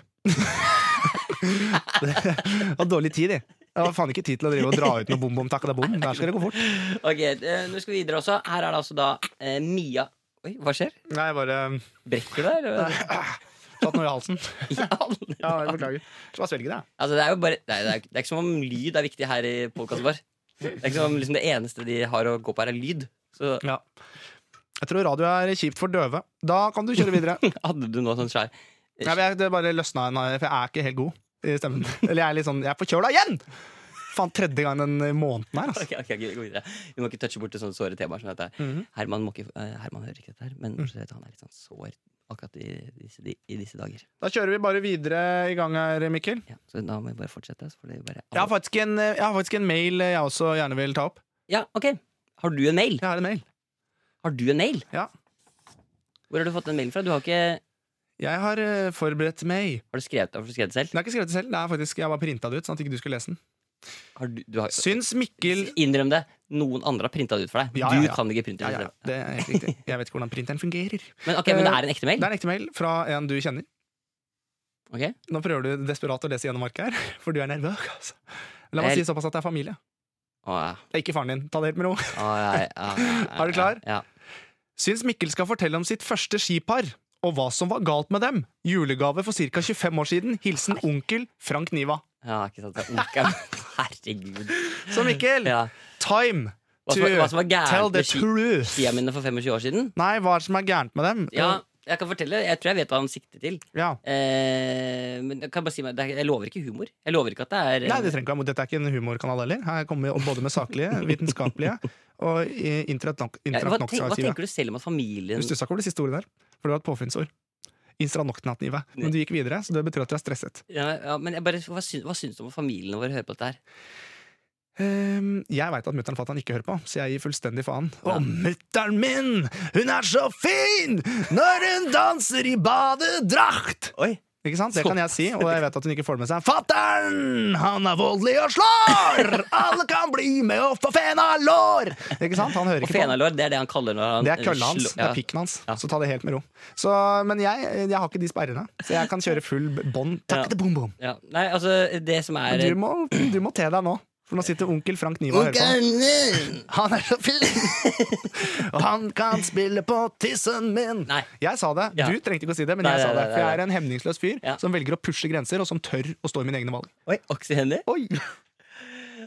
B: det var dårlig tid, jeg. Jeg har faen ikke tid til å drive og dra ut noe bom, bom, takker, bom. Der skal det gå fort.
A: Ok, eh, nå skal vi videre også. Her er det altså da eh, Mia Oi, hva skjer?
B: Nei, jeg bare
A: Brekker du deg? eller?
B: satt noe i halsen.
A: I alle
B: Ja, jeg beklager. Så bare svelg det.
A: Altså, det er jo bare Nei, det er, det er ikke som om lyd er viktig her i podkasten vår. Det er ikke som om liksom, det eneste de har å gå på, her er lyd. Så
B: Ja. Jeg tror radio er kjipt for døve. Da kan du kjøre videre.
A: hadde du nå sånn svær
B: Nei, men jeg, det bare løsna en, for jeg er ikke helt god i stemmen. Eller jeg er litt sånn Jeg er forkjøla igjen! Faen, tredje gang den måneden her, altså.
A: Ok, ok, ok, gå videre Vi må ikke touche bort til sånne såre temaer som dette.
B: Mhm. Mm.
A: Herman, må ikke, eh, Herman hører ikke dette her, men bortsett fra det, han er litt sånn sår akkurat i disse, i disse dager.
B: Da kjører vi bare videre i gang her, Mikkel.
A: Ja, så da må vi bare fortsette. Så får det bare
B: Jeg har faktisk en, eh, jeg har faktisk en mail eh, jeg også gjerne vil ta opp.
A: ja, ok Har du en mail?
B: Jeg har en mail.
A: Har du en mail?
B: Ja.
A: Hvor har du fått den mailen fra? Du har ikke
B: Jeg har eh, forberedt meg.
A: Har du skrevet, har du skrevet det selv?
B: Den er ikke skrevet selv. Det er faktisk, jeg bare printa det ut, sånn at ikke du skulle lese den.
A: Har du, du har,
B: Syns Mikkel
A: innrøm det. Noen andre har printa det ut for deg.
B: Ja, ja,
A: Du
B: ja.
A: kan ikke printe
B: ja,
A: det
B: ja, ja,
A: selv.
B: det er helt riktig. Jeg vet ikke hvordan printeren fungerer.
A: Men, ok, men det er en ekte mail?
B: Det er en ekte mail fra en du kjenner.
A: Ok.
B: Nå prøver du desperat å lese gjennom arket her, for du er nervøs. Altså. La meg
A: Vel.
B: si såpass at det er familie.
A: Å, ja.
B: Det er ikke faren din. Ta det helt med ro.
A: Å, ja, ja, ja, ja,
B: Er du klar?
A: Ja.
B: Syns Mikkel skal fortelle om sitt første skipar, og hva som var galt med dem. Julegave for ca. 25 år siden. Hilsen onkel Frank Niva.
A: ja, ikke sant. Det er onkel. Herregud.
B: Så Mikkel,
A: Ja.
B: time
A: Hva,
B: to
A: som, var- hva som var
B: tell
A: gærent
B: the
A: med ski-
B: truth.
A: skia mine for 25 år siden?
B: Nei, hva er det som er gærent med dem?
A: Ja, jeg kan fortelle. Jeg tror jeg vet hva han sikter til.
B: Ja.
A: Eh, men jeg kan bare si meg, det er, jeg lover ikke humor. Jeg lover ikke at det er eh,
B: Nei, det trenger ikke være mot. Dette er ikke en humorkanal heller. Her kommer vi både med saklige, vitenskapelige og eh, internett-
A: Ja, hva, tenk, hva
B: internett-nok-sider.
A: tenker du selv om at familien
B: Du stussa ikke over det siste ordet der, for det var et påfunnsord. Instranoknatnivet. Men du gikk videre, så det betyr at du er stresset.
A: ja, ja, men jeg bare, hva, syns, hva syns du om at familien vår hører på dette her?
B: Ehm, jeg veit at mutter'n fatter'n ikke hører på, så jeg gir fullstendig faen.
A: Ja.
B: Og mutter'n min, hun er så fin når hun danser i badedrakt!
A: Oi,
B: Ikke sant? Det
A: Så-
B: kan jeg si, og jeg vet at hun ikke får det med seg. Fatter'n, han er voldelig og slår! Alle kan bli med og få fena lår! Ikke sant? Han hører
A: Og
B: ikke på.
A: fenalår, det er det han kaller når han
B: Det er kølla hans.
A: slår-
B: Det er
A: ja.
B: pikken hans.
A: Ja.
B: Så ta det helt med ro. Så, men jeg, jeg har ikke de sperrene, så jeg kan kjøre full b- bånd. Takk
A: Ja.
B: til bom, bom.
A: Ja. Nei, altså, det som er
B: Men Du må, du må te deg nå, for nå sitter onkel Frank Niva og hører på.
C: Han er så fin! Og han kan spille på tissen min!
A: Nei.
B: Jeg sa det.
A: Ja.
B: Du trengte ikke å si det, men
A: Nei,
B: jeg sa
A: nei,
B: det.
A: nei,
B: For jeg
A: nei.
B: er en hemningsløs fyr
A: Ja.
B: som velger å pushe grenser, og som tør å stå i mine egne valg.
A: Oi, aksjehender?
B: Oi!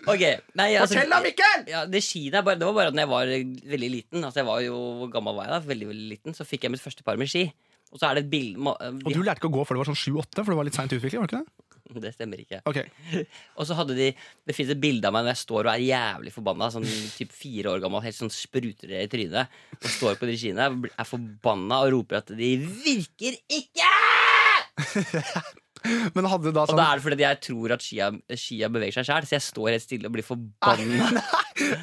A: Ok, nei, altså,
B: Fortell da, Mikkel!
A: Ja, det skiene er bare, det var bare at når jeg var eh, veldig liten Altså jeg var jo, Hvor gammel var jeg da? Veldig, veldig liten Så fikk jeg mitt første par med ski Og så er det et bilde ma- eh,
B: Og du lærte ikke å gå før du var sånn 7-8, for du var litt seint utviklet, var du ikke det?
A: Det stemmer ikke
B: Ok,
A: Og så hadde de Det finnes et bilde av meg når jeg står og er jævlig forbanna Sånn typ fire år gammel Helt sånn spruter det i trynet Og står på de skiene bl- Er forbanna og roper at de virker ikke
B: Men hadde du da
A: Og
B: sånn
A: da er det fordi at jeg tror at skia, skia beveger seg selv Så jeg står helt stille og blir forbanna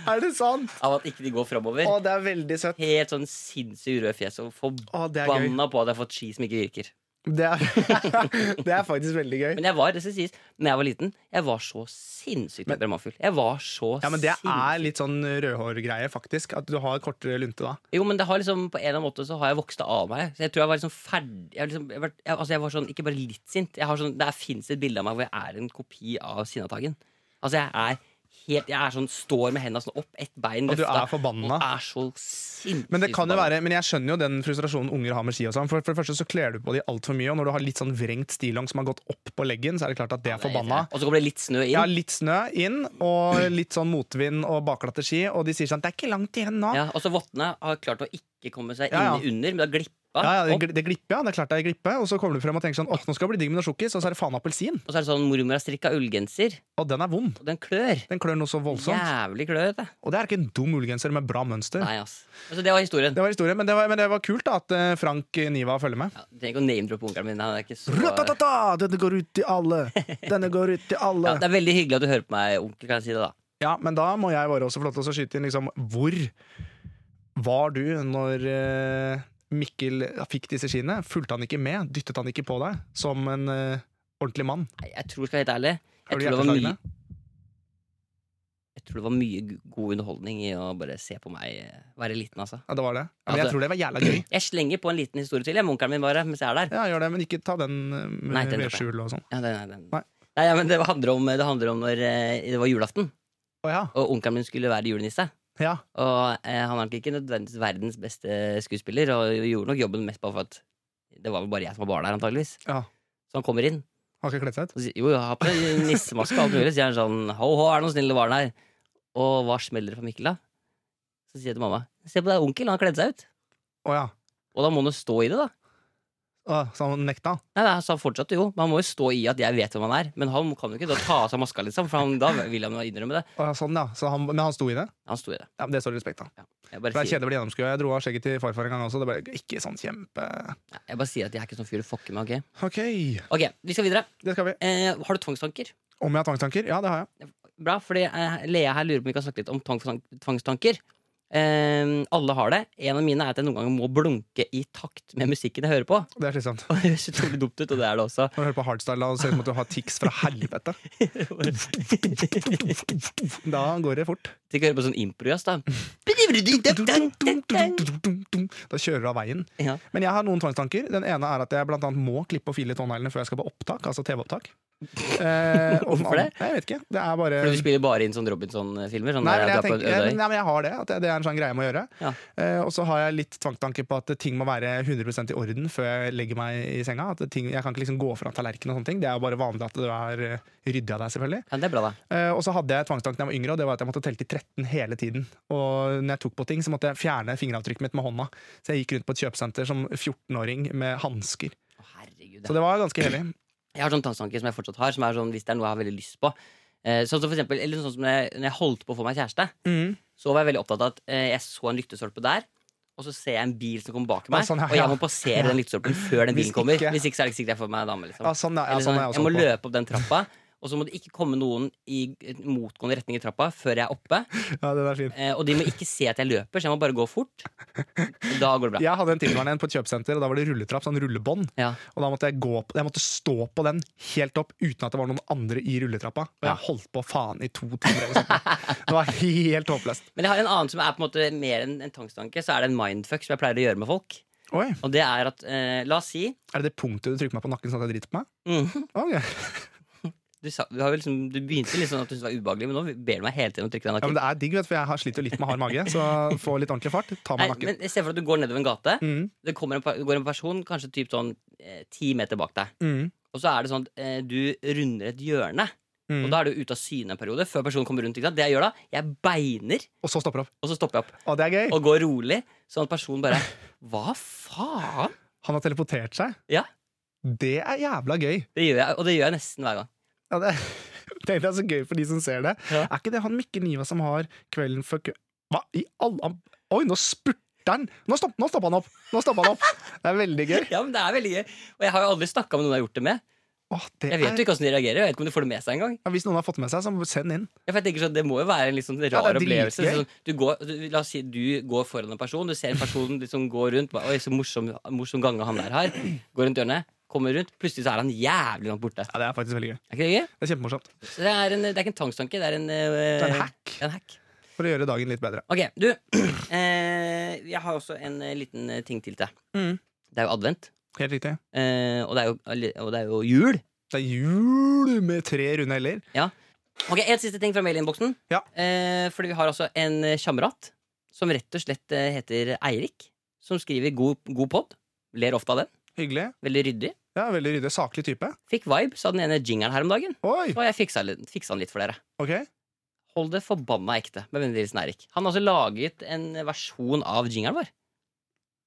B: Er det sant?
A: Av at ikke de går fremover
B: Å, det er veldig søtt.
A: Helt sånn sinnssykt rød fjes og
B: Å, det er gøy.
A: forbanna på at jeg har fått ski som ikke virker.
B: Det er, det er faktisk veldig gøy.
A: Men jeg var det skal sies, når jeg var liten, jeg var så sinnssykt temperamentfull. Jeg var så
B: Ja, men det
A: sinnssykt-
B: er litt sånn rødhårgreie, faktisk. At du har kortere lunte da.
A: Jo, men det har liksom, på en eller annen måte så har jeg vokst det av meg. Så jeg tror jeg var liksom ferdig jeg, har liksom, jeg, har vært- jeg, altså jeg var sånn, Ikke bare litt sint. Jeg har sånn, det fins et bilde av meg hvor jeg er en kopi av Sinnataggen. Altså, jeg er helt Jeg er sånn, står med hendene sånn opp, ett bein
B: Og du
A: løfta,
B: er forbanna.
A: Og er så sinnssykt
B: Men det kan jo
A: forbanna.
B: være, men jeg skjønner jo den frustrasjonen unger har med ski. og sånn For, for det første så kler du på de altfor mye, og når du har litt sånn vrengt stillong som har gått opp på leggen, så er det klart at det er forbanna.
A: Og så kommer det litt snø inn.
B: Ja, litt snø inn, og litt sånn motvind og bakglatte ski, og de sier sånn 'Det er ikke langt igjen nå'. Ja,
A: Ja, og så vottene har klart å ikke komme seg
B: Ja, ja.
A: inn under, men det har glippa.
B: ja, det,
A: opp,
B: gl- det glipper, ja. Det er klart det er glippe. Og så kommer du frem og tenker sånn 'Åh, nå skal det bli digg med noe sjokkis', og så er det faen appelsin.
A: og så er det sånn mormor har strikka ullgenser,
B: Og den er vond.
A: og den klør.
B: Den klør noe så voldsomt.
A: Jævlig kløete.
B: Og det er ikke en dum ullgenser med bra mønster.
A: Nei, ass. Altså, det var historien.
B: Det var historien, men det var, men det var kult da at eh, Frank Niva følger med.
A: Ja, du trenger ikke å name-droppe onkelen min. Han er ikke så ja,
C: Ratatata! Denne går ut til alle! Denne går ut til alle!
A: Det er veldig hyggelig at du hører på meg, onkel. Kan jeg si det, da?
B: Ja, men da må jeg bare også få lov til å skyte inn liksom, Hvor var du når eh, Mikkel fikk disse skiene? Fulgte han ikke med? Dyttet han ikke på deg? Som en eh, ordentlig mann?
A: Nei, jeg tror, skal jeg være helt ærlig, jeg
B: Har du
A: tror, det var mye,
B: hjerteslagene?
A: jeg tror det var mye gu- god underholdning i å bare se på meg eh, være liten, altså.
B: Ja, det var det. Ja, men
A: Altså-
B: jeg tror det var jævla gøy.
A: Jeg slenger på en liten historie til, jeg, med onkelen min, bare, mens jeg er der.
B: Ja, gjør det, men ikke ta den eh,
A: Nei,
B: med
A: den dropper jeg.
B: vedskjul og sånn.
A: Ja, det, nei, den-
B: Nei.
A: Nei, ja, men det handler om, det handler om når eh, det var julaften,
B: Å ja.
A: og onkelen min skulle være julenisse.
B: Ja.
A: Og eh, han er nok ikke nødvendigvis verdens beste skuespiller, og gjorde nok jobben mest bare for at det var vel bare jeg som var barn her, antageligvis.
B: ja.
A: Så han kommer inn,
B: Har ikke kledd seg ut?
A: og sier jo, jeg har på meg nissemaske og alt mulig, så sier han sånn ho, ho, er det noen snille barn her? Og hva smeller det for Mikkel, da? Så sier jeg til mamma, se på deg, onkel, han har kledd seg ut.
B: Å ja.
A: Og da må han jo stå i det, da.
B: Å, så han nekta?
A: Nei, nei, så han fortsatte jo. Men han må jo stå i at jeg vet hvem han er. Men han kan jo ikke da ta av seg maska, liksom, for han, da vil han jo innrømme det.
B: Å, ja, sånn, ja. Så han, men han sto i det?
A: Han sto i det.
B: Ja, men Det står det respekt av.
A: Jeg
B: For Det
A: bare,
B: er
A: sier,
B: kjedelig å bli gjennomskua. Jeg dro av skjegget til farfar en gang også. Det ble ikke sånn kjempe
A: Nei, jeg bare sier at jeg er ikke sånn fyr å fucke med, ok?
B: Ok,
A: Ok, vi skal videre.
B: det skal vi.
A: Eh, har du tvangstanker?
B: Om jeg har tvangstanker? Ja, det har jeg.
A: Bra, fordi eh, Lea her lurer på om vi kan snakke litt om tvang, tvangstanker. Eh, alle har det. En av mine er at jeg noen ganger må blunke i takt med musikken jeg hører på.
B: Det er slitsomt.
A: Og det høres utrolig dumt ut, og det er det også.
B: Når du hører på hardstyle og ser det ut som at du har tics fra helvete, da går det fort.
A: Tenk å høre på sånn improjazz, da.
B: Da kjører du av veien.
A: Ja.
B: Men jeg har noen tvangstanker. Den ene er at jeg blant annet må klippe og file tåneglene før jeg skal på opptak, altså TV-opptak. Eh, og den
A: Hvorfor det?
B: andre- Nei, Jeg vet ikke. Det er bare
A: For du spiller bare inn sånn Robinson-filmer? Sånn
B: Nei,
A: der at
B: men jeg,
A: du er på
B: tenker,
A: en øde øy.
B: nei, men jeg har det. At det, det er en sånn greie jeg må gjøre.
A: Ja.
B: Eh, og så har jeg litt tvangstanke på at ting må være 100 i orden før jeg legger meg i senga. At ting, jeg kan ikke liksom gå fra tallerkenen og sånne ting. Det er jo bare vanlig at du er eh, ryddig av deg, selvfølgelig.
A: Ja, det er bra, da.
B: Eh, og så hadde jeg tvangstanken da jeg var yngre, og det var at jeg måtte telle til 13 hele tiden. Og når jeg tok på ting, så måtte jeg fjerne fingeravtrykket mitt med hånda. Så jeg gikk rundt på et kjøpesenter som 14-åring med hansker.
A: Å, herregud.
B: Så det var ganske hellig.
A: Jeg har sånn tvangstanke som jeg fortsatt har, som er sånn hvis det er noe jeg har veldig lyst på. Eh, sånn som for eksempel, eller sånn som når jeg, når jeg holdt på å få meg kjæreste,
B: Mm.
A: så var jeg veldig opptatt av at eh, jeg så en lyktestolpe der, og så ser jeg en bil som kommer bak
B: Ja,
A: meg,
B: sånn, ja,
A: og jeg
B: ja.
A: må passere den lyktestolpen før den
B: Hvis
A: bilen kommer.
B: ikke-
A: Hvis ikke så er det ikke sikkert jeg får meg en dame. Liksom.
B: Ja, sånn, ja, ja,
A: Eller sånn,
B: sånn er
A: jeg
B: jeg også
A: må
B: på.
A: løpe opp den trappa, og så må det ikke komme noen i motgående retning i trappa før jeg er oppe.
B: Ja, den er fin.
A: Eh, og de må ikke se at jeg løper, så jeg må bare gå fort. Da går det bra.
B: Jeg hadde en tilsvarende en på et kjøpesenter, og da var det rulletrapp, sånn rullebånd.
A: Ja.
B: Og da måtte jeg, gå på, jeg måtte stå på den helt opp uten at det var noen andre i rulletrappa. Og
A: Ja.
B: jeg holdt på faen i to timer. Eller sånt. Det var helt håpløst.
A: Men jeg har en annen som er på en måte mer enn en tvangstanke, så er det en mindfuck som jeg pleier å gjøre med folk.
B: Oi,
A: Og det er at, eh, la oss si
B: Er det det punktet du trykker meg på nakken sånn at jeg driter på meg?
A: Mhm.
B: Ok.
A: du, sa, du, har jo liksom, du begynte litt sånn at du syntes det var ubehagelig, men nå ber du meg hele tiden om å trykke deg
B: Ja, men
A: nakken.
B: det er digg, vet, du, for jeg har sliter jo litt med hard mage. Så få litt ordentlig fart. Ta
A: Nei,
B: meg i nakken.
A: men Se for deg at du går nedover en gate.
B: Mm,
A: Det kommer en, pa- går en person kanskje typ sånn ti meter bak deg.
B: mm,
A: Og så er det sånn at eh, du runder et hjørne.
B: mm.
A: Og da er du ute av syne en periode før personen kommer rundt. Ikke sant? Det jeg gjør da, jeg beiner,
B: Og så stopper det opp.
A: og så stopper jeg opp.
B: Å, det er gøy!
A: Og går rolig, sånn at personen bare Hva faen?
B: Han har teleportert seg.
A: Ja.
B: Det er jævla gøy!
A: Det gjør jeg, og det gjør jeg nesten hver gang.
B: Ja, det, det er så gøy for de som ser det.
A: Ja.
B: Er ikke det han Mikkel Niva som har Kvelden før kø... Hva i alle han- Oi, nå spurter han! Nå stopper, nå stopper han opp! Nå stopper han opp! Det er veldig gøy.
A: Ja, men det er veldig gøy Og jeg har jo aldri snakka med noen jeg har gjort det med.
B: Åh, det
A: Jeg vet
B: er,
A: jo ikke hvordan de reagerer. Jeg vet ikke om de får det med seg engang.
B: ja, hvis noen har fått det med seg, så send inn.
A: Ja, for jeg tenker sånn, Det må jo være en litt sånn rar
B: det er
A: opplevelse.
B: dritgøy.
A: Sånn, du går, du, la oss si du går foran en person. Du ser en person liksom gå rundt. Bare, Oi, så morsom, morsom gange han der har. Går rundt hjørnet, kommer rundt. Plutselig så er han jævlig langt borte.
B: Ja, Det er faktisk veldig gøy.
A: Er ikke det gøy?
B: Det er Kjempemorsomt.
A: Så det er, en, det er ikke en tvangstanke. Det er en, eh,
B: Det er en hack
A: en hack.
B: for å gjøre dagen litt bedre.
A: Ok, du. Eh, jeg har også en eh, liten eh, ting til til deg.
B: Mm.
A: Det er jo advent,
B: Helt riktig.
A: eh, og, det er jo, og det er jo jul.
B: Det er jul med tre runde l-er.
A: Ok, En siste ting fra mailinnboksen.
B: Ja.
A: Eh, fordi vi har altså en eh, kamerat som rett og slett eh, heter Eirik. Som skriver god, god pod. Ler ofte av den.
B: Hyggelig.
A: Veldig ryddig.
B: Ja, Veldig ryddig. Saklig type.
A: Fikk vibes av den ene jingeren her om dagen.
B: Oi!
A: Og jeg fiksa, litt- fiksa den litt for dere.
B: Ok.
A: Hold det forbanna ekte med vennlig hilsen Eirik. Han har altså laget en versjon av jingeren vår.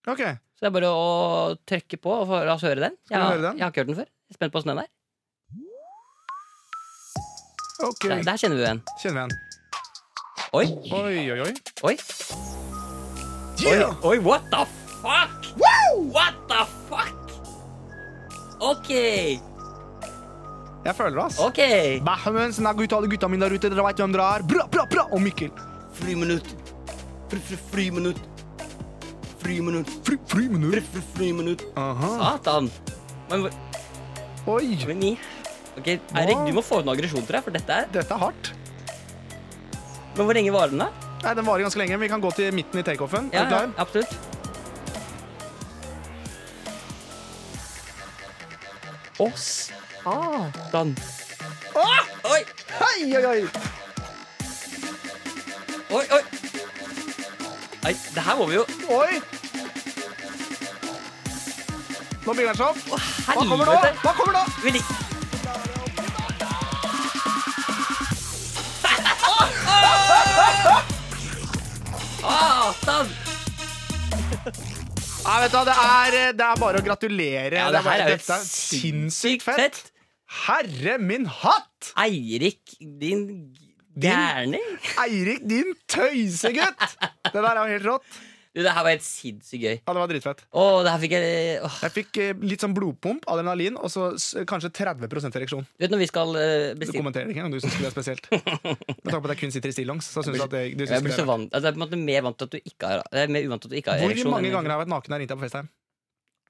B: Ok,
A: Så det er bare å trykke på og få, la oss høre den.
B: Skal vi
A: Jeg-
B: høre den?
A: Jeg har ikke hørt den før. Jeg er spent på åssen den er.
B: ok,
A: Der, der kjenner vi jo en.
B: kjenner vi igjen.
A: Oi,
B: Oi, oi, oi.
A: oi.
B: Yeah!
A: Oi, what the fuck? What the fuck? Ok,
B: Jeg føler det, ass.
A: ok.
B: Bahman, snakk ut alle gutta mine der ute, dere vet hvem dere er. Bra, bra, bra! Og Mikkel.
A: Friminutt. Fri, fri, friminutt. Friminutt.
B: Fri, fri
A: Fri,
B: minutt.
A: fri, friminutt. Ah.
B: Aha.
A: Satan. Men, hvor-
B: Oi,
A: men i Ok, Eirik, du må få ut noe aggresjon, tror jeg, for dette er
B: dette er hardt.
A: Men hvor lenge varer den, da?
B: Nei, Den varer ganske lenge, men vi kan gå til midten i takeoffen. Er du klar?
A: absolutt. Å, satan. Oi,
B: Hei, oi, oi!
A: oi, oi. Nei, det her må vi jo
B: Oi! Nå bygger den seg opp. Hva kommer nå?
A: Helvete!
B: Hva kommer nå?
A: Vi lik- Ah, Satan!
B: Nei, vet du, hva, det, er, eh, det er bare å gratulere.
A: Ja,
B: det
A: det her er
B: er
A: jo
B: bare, dette er sinnssykt fett.
A: fett.
B: Herre min hatt!
A: Eirik, din gærning.
B: Eirik, din tøysegutt! Det der er jo helt rått.
A: Du, det her var helt sinnssykt gøy.
B: Ja, det var dritfett.
A: Å, det her fikk jeg åh.
B: Jeg fikk eh, litt sånn blodpump, adrenalin, og så s- eh, kanskje 30 ereksjon.
A: Du vet når vi skal eh,
B: Du
A: bestille
B: kommenterer ikke engang, du syns ikke det er spesielt. Med tanke på at jeg kun sitter i stillongs, så syns du at det, du
A: Jeg
B: synes
A: blir
B: ikke
A: så
B: det er
A: vant altså, Jeg er på en måte mer vant til at du ikke har Jeg er mer uvant til at du ikke har
B: Hvor
A: ereksjon.
B: mange
A: enn-
B: ganger har jeg vært naken og ringt deg på FaceTime?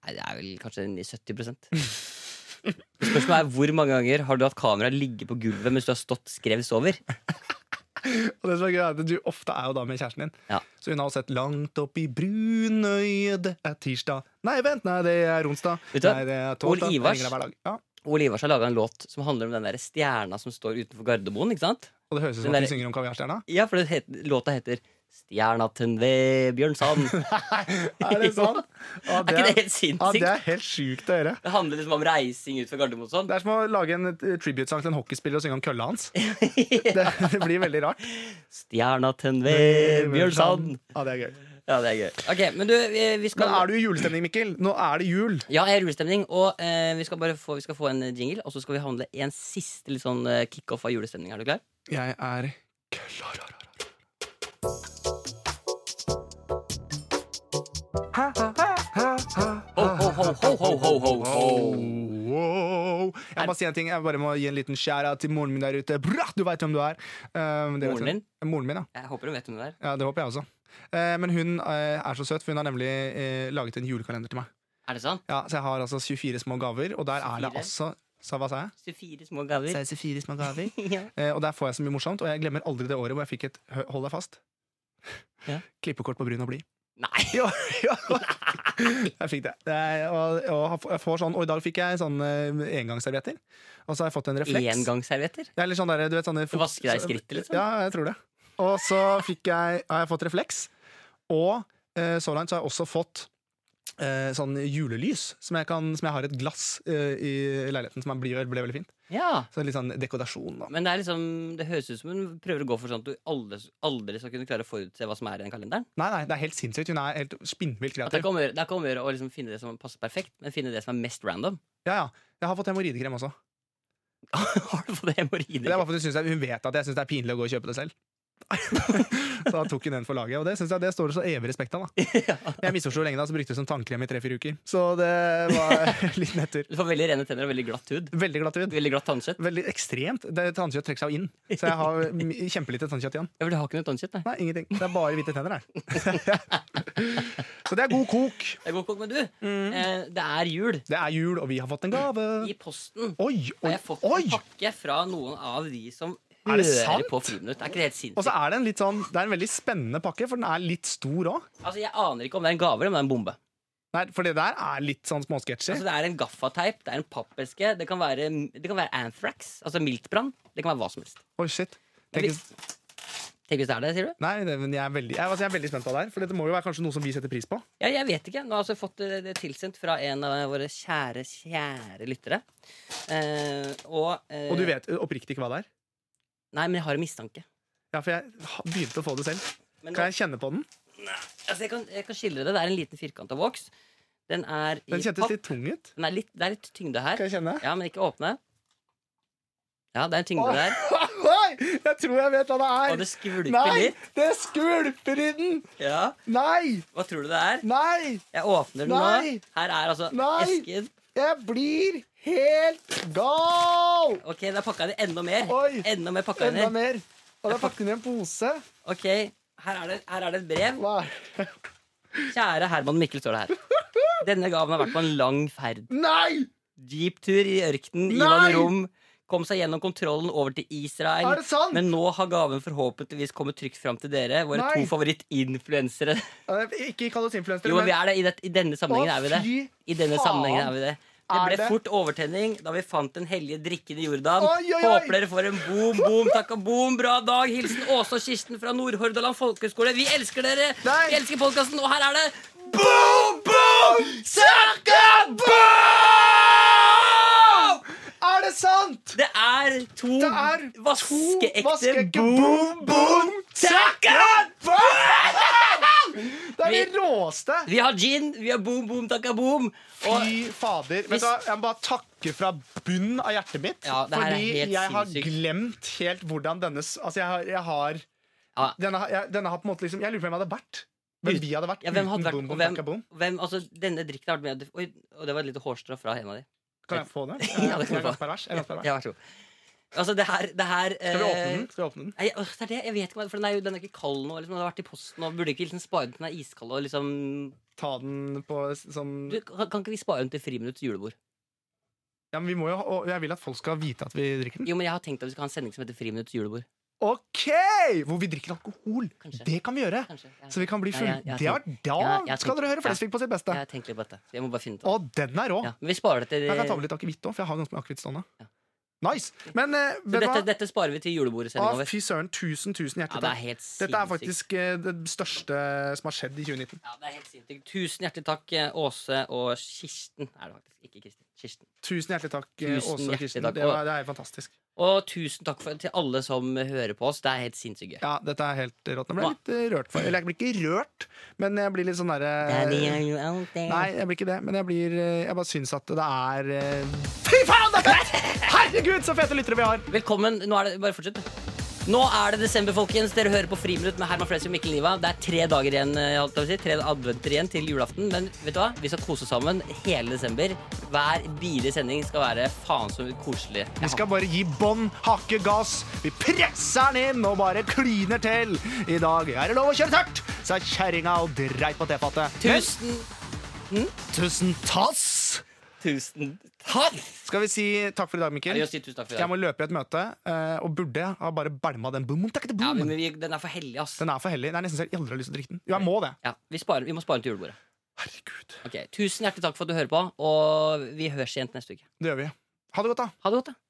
A: Nei, Det er vel kanskje en- 70 Spørsmålet er hvor mange ganger har du hatt kameraet ligge på gulvet mens du har stått skrevs over?
B: Og det som er gøy er at Du ofte er jo da med kjæresten din.
A: Ja.
B: Så hun har også sett 'Langt opp i brunøyet, det er tirsdag'. Nei, vent, nei, det er onsdag.
A: Vet du hva?
B: Nei, det er
A: Ole
B: torsdag. Jeg
A: Ivars-
B: ringer deg hver dag. Ja.
A: Ole Ivars har laga en låt som handler om den der stjerna som står utenfor Gardermoen. ikke sant?
B: Og det høres ut som
A: Den
B: at du
A: der-
B: synger om kaviarstjerna.
A: Ja, for det het, låta heter Stjerna til Vebjørn Sand.
B: Er det sant?
A: Er
B: Ja, det
A: ikke det
B: er,
A: helt
B: ja, det
A: sinnssykt?
B: er helt sjukt å høre.
A: Det handler liksom om reising utenfor Gardermoen og sånn.
B: Det er som å lage en eh, tributesang til en hockeyspiller og synge om kølla hans. Det, det blir veldig rart.
A: Stjerna til Vebjørn Eh, Sand.
B: Ja, det er gøy.
A: Ja, det er gøy. Ok, Men du, vi, vi skal
B: Men er du i julestemning, Mikkel? Nå er det jul.
A: Ja, jeg er i julestemning. Og eh, vi, skal bare få, vi skal få en jingle, og så skal vi handle en siste litt sånn eh, kickoff av julestemning. Er du klar?
B: Jeg er klar.
A: Ho, ho, ho, ho, ho, ho, ho, ho.
B: Wow. Jeg må si en ting, jeg bare må gi en liten skjæra til moren min der ute. Bra, du veit hvem du er! Um, det vet
A: Moren
B: hun. Moren min, ja.
A: Jeg håper du vet hvem det er.
B: ja. Det håper jeg også. Eh, men hun eh, er så søt, for hun har nemlig eh, laget en julekalender til meg.
A: Er det sant?
B: Ja, Så jeg har altså 24 små gaver, og der er det
A: 24?
B: altså sa, Hva sa jeg?
A: 24 små gaver.
B: 24 små gaver.
A: Ja.
B: Eh, og der får jeg så mye morsomt, og jeg glemmer aldri det året hvor jeg fikk et hø- Hold deg fast.
A: Ja.
B: Klippekort på brun og blid.
A: Nei!
B: Jo, jo. Jeg fikk det. det er, og, og jeg får sånn, og i dag fikk jeg sånn eh, engangsservietter. Og så har jeg fått en refleks.
A: Engangsservietter?
B: Ja, eller sånn der, du vet, sånne
A: Du vasker deg i skrittet, liksom?
B: Ja, jeg tror det. Og så fikk jeg, har jeg fått refleks. Og eh, så langt så har jeg også fått eh, sånn julelys, som jeg, kan, som jeg har i et glass eh, i leiligheten, som er- blir, ble veldig fint.
A: Ja.
B: Så litt sånn dekodasjon, da.
A: Men det, er liksom, det høres ut som hun prøver å gå for sånn at du aldri, aldri skal kunne klare å forutse hva som er i den kalenderen.
B: Nei, nei, det er helt sinnssykt. Hun er helt
A: At
B: spinnvilt
A: det er
B: kreativ.
A: ikke om å gjøre- det er ikke om å gjøre å liksom finne det som passer perfekt, men finne det som er mest random.
B: Ja, ja. Jeg har fått hemoroidekrem også.
A: Har du fått
B: Men det er
A: hemoroider?
B: bare fordi hun, synes det, er- hun vet at jeg syns det er pinlig å gå og kjøpe det selv. så da tok hun den for laget, og det synes jeg det står det så evig respekt av. da Men Jeg misforsto lenge da, så brukte jeg det som tannkrem i tre-fire uker. Så det var litt nedtur.
A: Du får veldig rene tenner og veldig glatt hud.
B: Veldig glatt hud.
A: Veldig glatt tannkjøtt.
B: Veldig ekstremt. Det Tannkjøtt trekker seg jo inn. Så jeg har m- kjempelite tannkjøtt igjen.
A: Ja, for du har ikke noe tannkjøtt, nei.
B: Nei, ingenting. Det er bare hvite tenner her. så det er god kok.
A: Det er god kokk, men du,
B: Mm.
A: eh, det er jul.
B: Det er jul, og vi har fått en gave.
A: I posten
B: Oi,
A: har
B: oi,
A: jeg fått
B: oi!
A: en pakke fra noen av de som
B: Er det
A: hører
B: sant?
A: på Friminutt. Det er ikke det helt
B: Og
A: sinnssykt.
B: så er det en litt sånn Det er en veldig spennende pakke, for den er litt stor òg.
A: Altså, jeg aner ikke om det er en gave eller om det er en bombe.
B: Nei, for det der er litt sånn småsketsjer.
A: Altså, det er en gaffateip, det er en pappeske, det kan være, det kan være anthrax, altså miltbrann. Det kan være hva som helst.
B: Oi, shit.
A: Men
B: Tenk,
A: hvis- Tenk hvis det er det, sier du?
B: nei, det, men jeg er, veldig, jeg, altså, jeg er veldig spent på det her, for dette må jo være kanskje noe som vi setter pris på.
A: Ja, jeg vet ikke. Nå har jeg altså fått det, det tilsendt fra en av våre kjære, kjære lyttere. Eh, og, eh,
B: Og du vet oppriktig ikke hva det er?
A: Nei, men jeg har en mistanke.
B: Ja, for jeg ha- begynte å få det selv.
A: Men
B: Kan
A: nå,
B: jeg kjenne på den?
A: altså, jeg, kan, jeg kan skildre det. Det er en liten firkanta voks. Den er i
B: Den kjentes
A: papp.
B: litt tung ut.
A: Den er litt, det er litt tyngde her.
B: Kan jeg kjenne?
A: Ja, men ikke åpne. Ja, det er en tyngde der.
B: Nei, jeg tror jeg vet hva
A: Og
B: det
A: det
B: er.
A: skvulper
B: Nei,
A: litt.
B: det skvulper i den!
A: Ja.
B: Nei,
A: Hva tror du det er?
B: nei!
A: Jeg åpner den
B: Nei!
A: nå. Her er altså
B: Nei!
A: esken.
B: Jeg blir helt gal!
A: Ok, da pakka jeg det enda mer.
B: Oi!
A: Enda mer pakka
B: Enda
A: under.
B: mer. Og det er pakket inn i en pose.
A: Ok, her er, det, her er det et brev.
B: Hva er det?
A: Kjære Herman Mikkel, står det her. Denne gaven har vært på en lang ferd.
B: Nei!
A: Jeeptur i ørkenen,
B: Nei!
A: Ivan Rom. Kom seg gjennom kontrollen over til Israel.
B: Er det sant?
A: Men nå har gaven forhåpentligvis kommet trygt fram til dere, våre
B: Nei!
A: to favorittinfluensere.
B: Ja, Ikke kall oss influensere,
A: Jo, men vi er det. I, det, I denne sammenhengen
B: Å,
A: er vi det.
B: fy
A: I denne
B: faen.
A: sammenhengen er vi det. Det
B: Er
A: ble
B: det-
A: fort overtenning da vi fant den hellige drikken i Jordan.
B: Oi, oi, oi!
A: Håper dere får en boom, boom, takka boom. Bra dag. Hilsen Åse og Kirsten fra Nordhordaland folkehøgskole. Vi elsker dere!
B: Nei!
A: Vi elsker podkasten, og her er det
B: Boom, boom, cirka boom! Er det sant?
A: Det er to
B: Det er to
A: vaskeekte
B: vaskeekte
A: boom.
B: boom, cirka boom! Det er det
A: Vi-
B: råeste.
A: Vi har gin, vi har boom, boom, takka boom. Og
B: Fy fader. Vet
A: Hvis-
B: du hva, Jeg må bare takke fra bunnen av hjertet mitt.
A: Ja, det her er
B: fordi
A: helt
B: jeg har
A: sinnssykt.
B: glemt helt hvordan denne s- Altså, jeg har, jeg har
A: Ja.
B: denne, har- jeg, denne har på en måte liksom Jeg lurer på hvem jeg hadde vært. Hvem
A: Ut-
B: vi hadde vært
A: ja, hvem hadde
B: uten
A: vært,
B: Bom
A: og
B: Bom
A: hvem,
B: Takka Bom.
A: hvem, altså, denne drikken har vært med Oi, og det var et lite hårstrå fra en av de.
B: Kan jeg få det?
A: Ja, det kan
B: Jeg er
A: du få.
B: ganske pervers, jeg er ganske pervers.
A: Ja, vær så god. Altså, det her, det her
B: Skal vi åpne
A: eh,
B: den? Skal vi åpne den?
A: Nei, åh, det er det, jeg vet ikke, hva- for den er jo den er ikke kald nå. Liksom, den har vært i posten og Burde ikke liksom spare den til den er iskald? Og liksom,
B: Ta den på s- sånn- som
A: du, kan, kan ikke vi spare den til friminutts julebord?
B: Ja, men vi må jo, ha- og jeg vil at folk skal vite at vi drikker den.
A: Jo, men Jeg har tenkt at vi skal ha en sending som heter Friminutts julebord.
B: OK! Hvor vi drikker alkohol.
A: Kanskje.
B: Det kan vi gjøre.
A: Kanskje. Jeg,
B: Så vi kan bli
A: Ja,
B: full.
A: jeg- jeg
B: Det var da
A: ja, jeg
B: skal
A: tenker-
B: dere høre
A: ja.
B: Flesvig på sitt beste.
A: jeg har tenkt litt på dette. så Jeg må bare finne ut av det.
B: Og den er rå.
A: Ja, men vi sparer det til
B: Jeg kan ta med litt akevitt òg, for jeg har ganske mye akevitt stående. Nice! Men
A: så
B: eh, vet du
A: dette,
B: hva?
A: dette sparer vi til
B: Å,
A: julebordsendinga vår.
B: fy søren, tusen, tusen
A: Ja,
B: hjertelig
A: det er
B: takk.
A: helt sinnssykt.
B: Dette er faktisk eh, det største som har skjedd i 2019.
A: ja, det er helt sinnssykt. Tusen hjertelig takk, eh, Åse og Kirsten. Er det faktisk ikke Kristin. Kirsten.
B: Tusen hjertelig takk, eh,
A: Tusen
B: Åse og
A: hjertelig
B: Kirsten.
A: takk.
B: Det, var, det er helt fantastisk.
A: Og tusen takk for, til alle som hører på oss. Det er helt sinnssykt gøy.
B: Ja, dette er helt rått. Nå ble jeg litt eh, rørt. For. Eller jeg blir ikke rørt, men jeg blir litt sånn derre
A: you out there?
B: Nei, jeg blir ikke det, men jeg blir eh, Jeg bare syns at det er eh, Fy faen, det er fett! Herregud, så fete lyttere vi har!
A: Velkommen. Nå er det, bare fortsett. du. Nå er det desember, folkens. Dere hører på Friminutt med Herman Flesvig og Mikkel Niva. Det er tre dager igjen, eh, jeg holdt på å si. tre adventer igjen til julaften. Men vet du hva? vi skal kose oss sammen hele desember. Hver bidige sending skal være faen så koselig.
B: Vi skal bare gi bånn, hakke gass. Vi presser den inn og bare kliner til. I dag er det lov å kjøre tørt, sa kjerringa og dreit på tefatet.
A: Tusen,
B: Tusen tass!
A: tusen takk!
B: Skal vi si takk for i dag, Mikkel?
A: Jeg vil si tusen takk for i
B: Jeg
A: dag.
B: må løpe i et møte, eh, og burde ha bare bælma den boom. Takk, det
A: Ja, men
B: boom.
A: vi, den er for hellig, ass.
B: Den er for hellig. Det er nesten så jeg aldri har lyst til å drikke den. Jo, jeg må det.
A: Ja, vi, sparer, vi må spare den til julebordet.
B: Herregud.
A: Ok, Tusen hjertelig takk for at du hører på, og vi høres igjen neste uke.
B: Det gjør vi. Ha det godt, da.
A: Ha det godt, da.